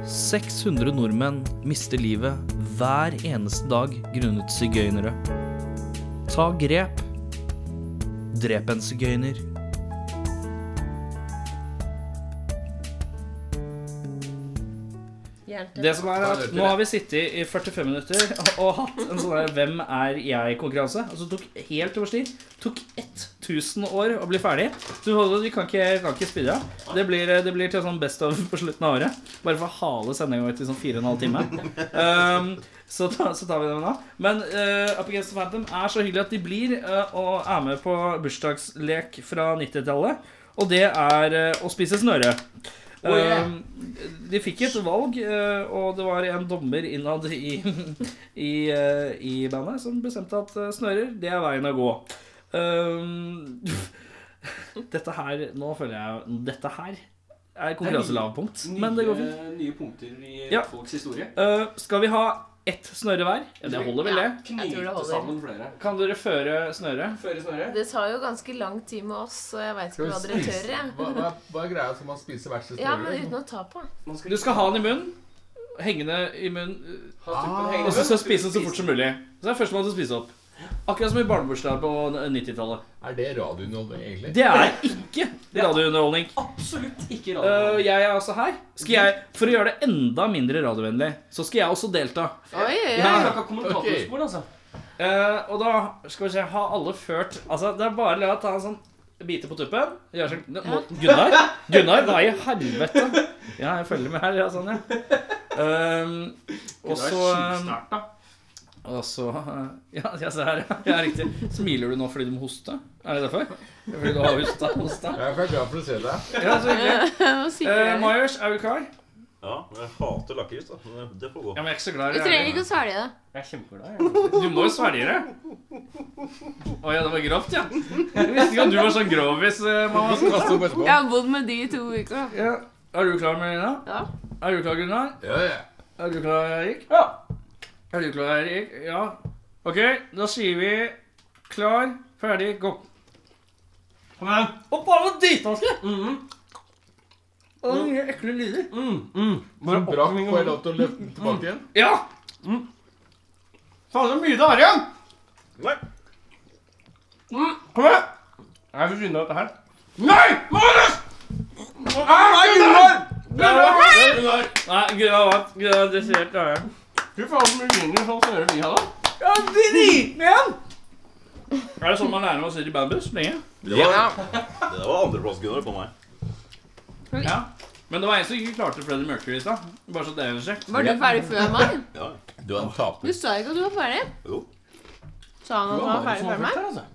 N: nordmenn mister livet hver eneste dag grunnet sigøynere. Ta grep. Drep en sigøyner.
D: Jernteppe.
N: Det som er at Nå har vi sittet i 45 minutter og, og hatt en sånn der 'Hvem er jeg?'-konkurranse. Altså tok helt over sti. Tok 1000 år å bli ferdig. Du, Holdo, vi kan ikke, kan ikke spille av. Det blir, det blir til sånn Best of på slutten av året. Bare for å hale sendinga ut i sånn 4 15 time. Um, så, ta, så tar vi den da. Men eh, Up Against the Phantom er så hyggelig at de blir eh, og er med på bursdagslek fra 90-tallet. Og det er eh, å spise snøre.
E: Oh, yeah.
N: Um, de fikk et valg,
L: øh,
N: eh, og det var en dommer innad
L: øh,
N: i, i, eh, i bandet som bestemte at eh, snører, det er veien å gå.
L: Ehm, dette her Nå føler jeg Dette her er konkurranselavpunkt, men det går fint.
C: Nye punkter i
L: Ja.
C: folks historie.
L: Eh, skal vi ha ett snøre hver? Ja, det holder vel, det?
C: Knyte
D: tror det holder.
C: sammen flere.
L: Kan dere føre snøret?
C: Føre snøre.
D: Det tar jo ganske lang tid med oss, så jeg veit ikke hva dere tør.
E: Hva,
D: Jeg.
E: hva, hva er greia? Skal man spise hvert sitt
D: Ja,
E: snøre,
D: men
E: liksom?
D: uten å ta på.
L: Du skal ha den i munnen. Hengende i munnen. øh,
C: Ha tuppen hengende.
L: Og så skal du spise den så fort som mulig. Så er det førstemann til å spise opp. Akkurat som i barnebursdager på 90-tallet.
E: Er det radiounderholdning, egentlig?
L: Det er ikke radiounderholdning.
C: Absolutt ikke
L: Øh,
C: radio.
L: jeg er også her. Skal jeg, for å gjøre det enda mindre radiovennlig, så skal jeg også delta.
D: Oi, oi,
C: Jeg
D: oi.
C: har ikke kommentatorspor, altså.
L: Eh, og da skal vi se Har alle ført Altså, det er bare å ta en sånn bite på tuppen. Gjør sånn nå- nå- Gunnar, Gunnar, hva i helvete? Ja, jeg følger med her. Ja, sånn, ja. Ehm, og så eh,
C: Snart, da.
L: Og så eh, Ja, jeg ser her. Ja, riktig. Smiler du nå fordi du må hoste? Er det derfor? Fordi du har hosta? hosta.
E: Jeg er glad for å se deg.
L: Ja, så hyggelig.
D: Nå
L: Eh,
D: sikrer jeg.
L: Myers, er du klar?
H: Ja, men jeg hater lakris, da. Men det- det får gå.
L: Ja, men jeg er ikke så glad
D: Du
L: i
D: trenger ikke å svelge det.
C: Jeg er kjempeglad. jeg.
L: Du må jo svelge det. Å ja, det var grovt, ja. Jeg visste ikke at du var sånn grovis, eh, mamma.
E: Kaste opp etterpå.
D: Jeg har bodd med de i to uker. da.
L: Ja. Er du klar, Melina?
D: Ja.
L: Er du klar, Gunnar?
E: Ja, ja.
L: Er du klar, Erik?
C: Ja.
L: Er du klar, Erik? Ja. Ok, da sier vi klar, ferdig, gå.
C: Kom igjen.
L: Og bare dritvanskelig!
C: Mm,
L: Og Mhm. mye ekle lyder.
C: mm, mm.
E: Bare
C: Bare
E: brakk,
C: oppvarming
E: får
C: og
E: jeg lov til å løfte den tilbake igjen?
L: Ja!
C: Mm. Faen, så mye det har igjen!
H: Nei!
C: Mm, kom igjen! Jeg får skynde meg dette her. Nei! Marius! Nei, Gunnar! Gunnar!
L: Nei, Gunnar vant. Gunnar dressert av jeg.
C: Fy faen, så mye mindre sånn snøre vi hadde.
L: Ja, drit med ham! Er det sånn man lærer å sitte i bandbuss lenge?
H: Det var, det der var andreplass, Gunnar, på meg.
L: Ja. Men det var en som ikke klarte Freddie Mercury i stad. Bare så det er sjekk.
D: Var du ferdig før meg?
H: Ja,
E: Du er en
D: Du
E: taper.
D: sa ikke at du var ferdig.
H: jo.
D: Sa han at han var ferdig før meg?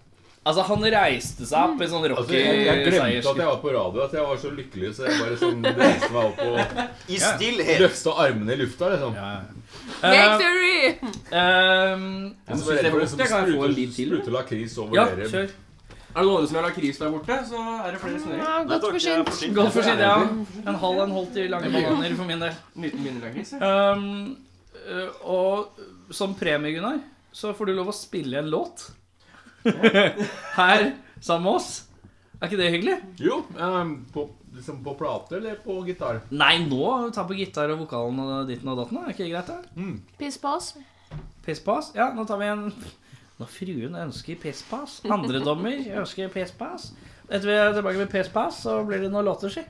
L: Altså, han reiste seg opp i sånn
E: Altså, jeg, jeg
L: rocky
E: glemte at
L: seierskutt.
E: jeg var på radio, at jeg var så lykkelig, så jeg bare sånn reiste meg opp og
H: I stillhet!
E: løfta armene i lufta, liksom.
L: Eh,
D: Victory!
L: Ehm,
E: Jeg
C: synes det er godt, jeg kan få en bit til,
E: liksom Sprute lakris over
L: ja,
E: dere.
L: kjør.
C: Er det noen som har lakris der borte, så er det flere snører.
D: Ja,
H: Nei,
D: godt
H: takk,
D: for
H: jeg er
D: sent.
H: for sint.
L: Godt for siden, ja. En halv en holdt i lange bananer for min del.
C: Liten minilakris. ja.
L: Ehm, eh, og som premie, Gunnar, så får du lov å spille en låt her sammen med oss. Er ikke det hyggelig?
E: Jo, ehm, på, liksom på plate eller på gitar?
L: Nei, nå ta på gitar og vokalen og ditten og datten. Er ikke det greit, det?
D: Piss på oss.
L: Piss på oss. Ja, nå tar vi en Når fruen ønsker piss på oss. Andre dommer ønsker piss på oss. Etter vi er tilbake med piss på oss, så blir det noen låter, si.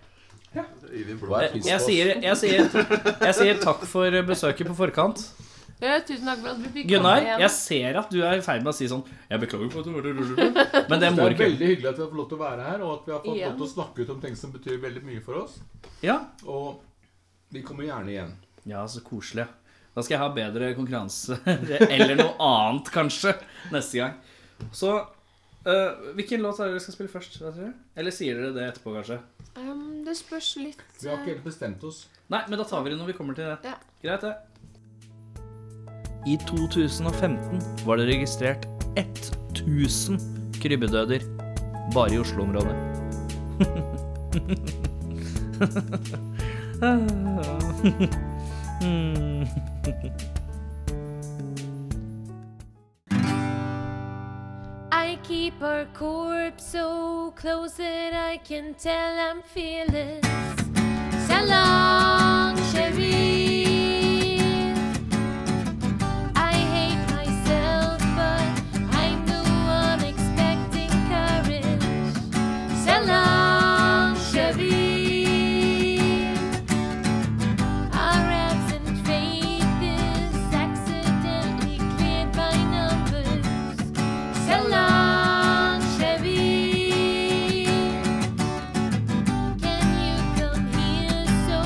H: Øyvind Blå.
E: Hva er
L: Jeg, jeg,
E: piss på?
L: sier, jeg, sier, jeg sier takk for besøket på forkant.
D: Ja, Eh, tusen takk for at du fikk komme
L: Gunnar,
D: igjen.
L: jeg ser at du er i ferd med å si sånn Jeg beklager for at du var Men det
E: Det
L: må
E: er
L: du ikke.
E: veldig hyggelig at vi har fått lov til å være her, og at vi har fått
D: Igjen.
E: lov til å snakke ut om ting som betyr veldig mye for oss.
L: Ja.
E: Og vi kommer gjerne igjen.
L: ja, så koselig. Da skal jeg ha bedre konkurranse. Eller noe annet, kanskje, neste gang. Så øh, Hvilken låt er det dere skal spille først? Vet dere? Eller sier dere det etterpå, kanskje?
D: Ehm, det spørs litt
E: Vi har ikke helt bestemt oss.
L: Nei, men da tar vi det når vi kommer til det.
D: Ja.
L: Greit, det. I 2015 var det registrert 1000 krybbedøder bare i Oslo-området.
D: I keep our corpse so close that I can tell I'm fearless. So long, Cherie. I hate myself, but I'm the one expecting courage. So long, Cherie. Our absent faith is accidentally cleared by numbers. Salon Chevy. Can you come here so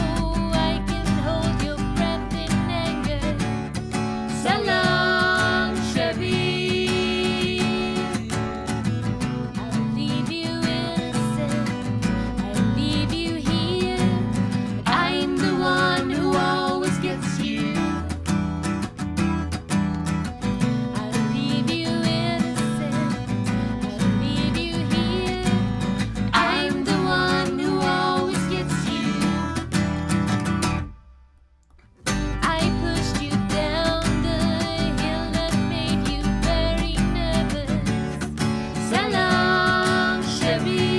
D: I can hold your breath in anger? Salon Chevy. I'll leave you innocent. I'll leave you here. I'm the one who always gets you. I'll leave you innocent. I'll Oh,
N: Salancheville.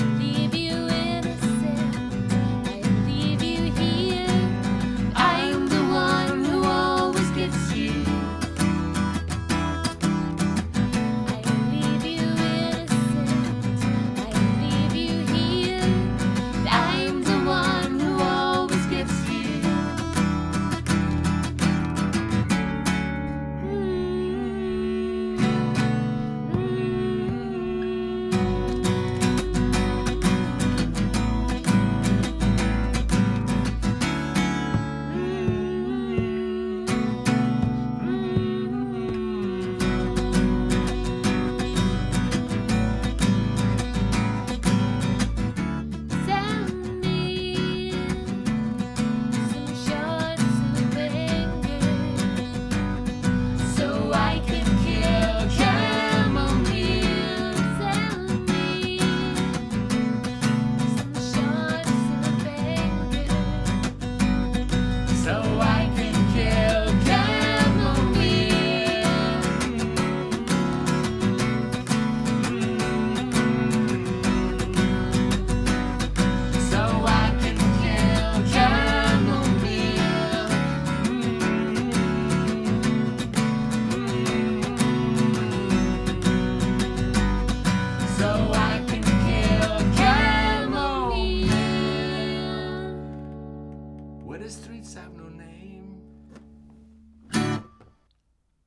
N: I leave you in a cell. I leave you here. I'm the one who always gets you. I leave you innocent. I leave you here. I'm the one who always gets you. Send me some shots of anger so I can kill chamomile. Send me some shots of anger so I can kill chamomile. So I can kill chamomile. So I can kill chamomile.
O: Where the streets have no name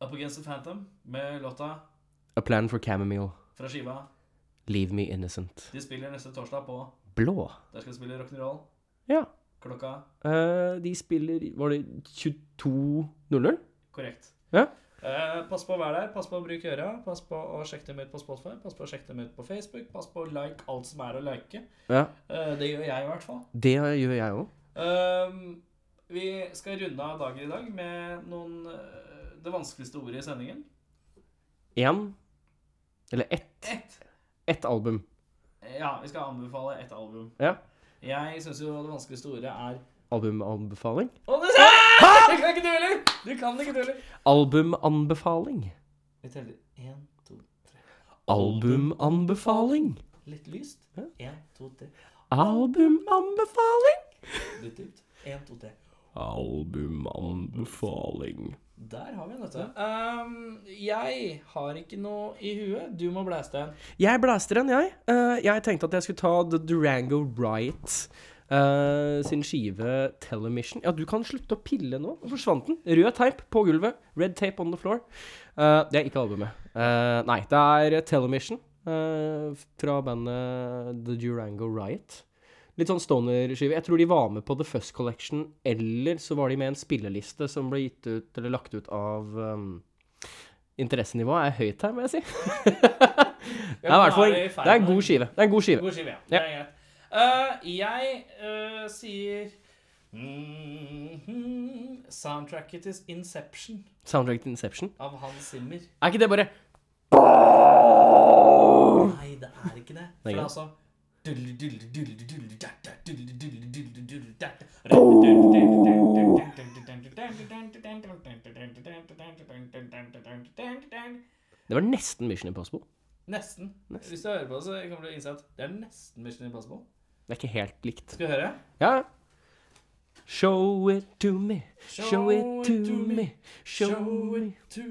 L: Up Against the Phantom med låta
C: A Plan for Chamomile.
L: fra skiva.
C: Leave Me Innocent.
L: De spiller neste torsdag på
C: Blå.
L: Der skal de spille rock'n'roll.
C: Ja.
L: Klokka
C: Eh, de spiller Var det 22.00?
L: korrekt.
C: Ja.
L: Eh, pass på å være der, pass på å bruke øra, pass på å sjekke dem ut på Spotify, pass på å sjekke dem ut på Facebook, pass på å like alt som er å like.
C: Ja.
L: Eh, det gjør jeg i hvert fall.
C: Det gjør jeg òg.
L: Ehm, vi skal runde av dagen i dag med noen eh, det vanskeligste ordet i sendingen.
C: Én Eller ett.
L: Ett.
C: Ett album.
L: Ja, vi skal anbefale ett album.
C: Ja.
L: Jeg syns jo det vanskeligste ordet er
C: Albumanbefaling.
L: Å, det Det kan ikke du heller! Du kan det ikke, du heller.
C: Albumanbefaling.
L: Vi teller én, to, tre.
C: Albumanbefaling.
L: Litt lyst. Én, to, tre.
C: Albumanbefaling.
L: Litt dypt. Én, to, tre.
C: Albumanbefaling.
L: Der har vi den, vet du. Ehm, jeg har ikke noe i huet. Du må blæste en.
C: Jeg blaster den, jeg. Eh, jeg tenkte at jeg skulle ta The Durango Riot eh, sin skive Telemission. Ja, du kan slutte å pille nå. Nå forsvant den. Rød teip på gulvet. Red tape on the floor. Eh, det er ikke albumet. Eh, nei, det er Telemission eh, fra bandet The Durango Riot. Litt sånn stoner-skive. Jeg tror de var med på The Fuzz Collection, eller så var de med i en spilleliste som ble gitt ut, eller lagt ut av um, Interessenivået er høyt her, må jeg si. Det er, i hvert fall, det er en god skive. Det er en god skive.
L: God skive, ja. Det er greit. Eh, jeg eh, sier mhm, Soundtracket til Inception
C: Soundtrack til Inception.
L: av Hans Zimmer.
C: Er ikke det bare
L: Nei, det er ikke det.
C: Det er
L: For det er
C: ikke
L: altså altså
C: Det var nesten Mission Impossible.
L: Nesten. Hvis du hører på det, så kommer du til å innse at det er nesten Mission Impossible.
C: Det er ikke helt likt.
L: Skal vi høre?
C: Ja. Show it to me, show it to me, show it
L: to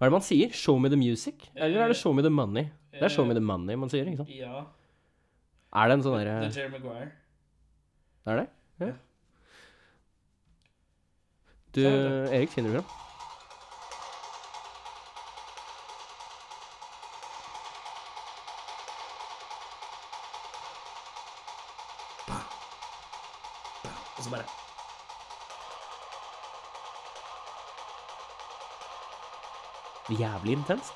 C: Hva er det man sier? Show me the music? Eller er det show me the money? Det er show me the money man sier, ikke sant?
L: Ja.
C: Er det en sånn
L: Det
C: derre
L: er Jerry Maguire.
C: Er det? Ja. Du, Erik, finner du fram?
L: Og så bare
C: Jævlig intenst.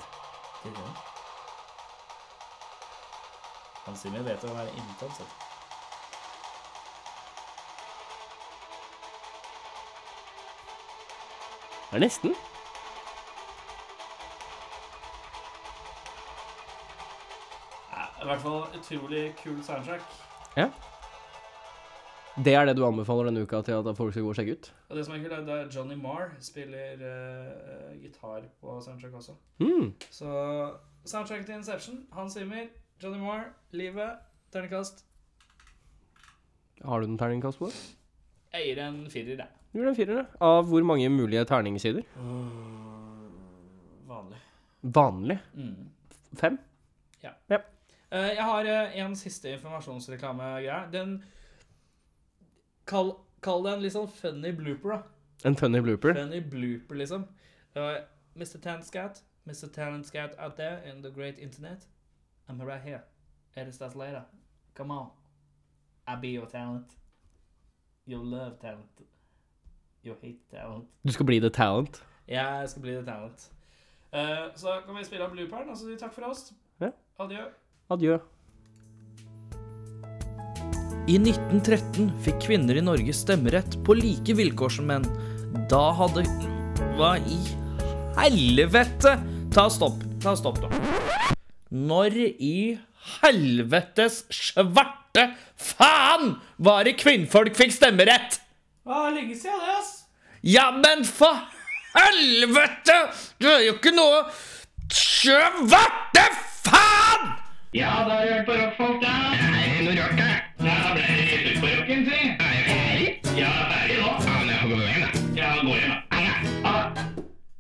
L: Han Simmy vet å være intens. vet du.
C: Det er nesten.
L: eh, I hvert fall utrolig kul soundtrack.
C: Ja. Det er det du anbefaler denne uka til at folk skal gå og sjekke ut?
L: Og det som er kult, er at Johnny Marr spiller eh, gitar på soundtrack også.
C: Hmm.
L: Så soundtracket til Inception, Hans Zimmer, Johnny Marr, Livet, ternekast.
C: Har du den terningkast på det?
L: Jeg gir en firer, jeg.
C: Du gjør en firer, ja. Av hvor mange mulige terningsider?
L: Vanlig.
C: Vanlig
L: Mm.
C: fem?
L: Eh, jeg har eh, en siste informasjonsreklamegreie. Den kall, kall det en litt sånn funny blooper, da.
C: En funny blooper?
L: Funny blooper, liksom. Det var Mr. Tanscat, Mr. Tanscat out there in the great internet. I'm right here. It is that later. Come on. I be your talent. You love talent. You hate talent.
C: Du skal bli the talent.
L: Jeg skal bli the talent. Eh, så da kan vi spille av blooperen, og så sier vi takk for oss.
C: Ja.
L: Adjø.
C: Adjø.
L: I 1913 fikk kvinner i Norge stemmerett på like vilkår som menn. Da hadde Hva i helvete? Ta stopp. Ta stopp, da. Når i helvetes svarte faen var det kvinnfolk fikk stemmerett? Hva er lenge siden det, ass? Ja, men for helvete! Du er jo ikke noe svarte faen! Ja, da hjelper det folk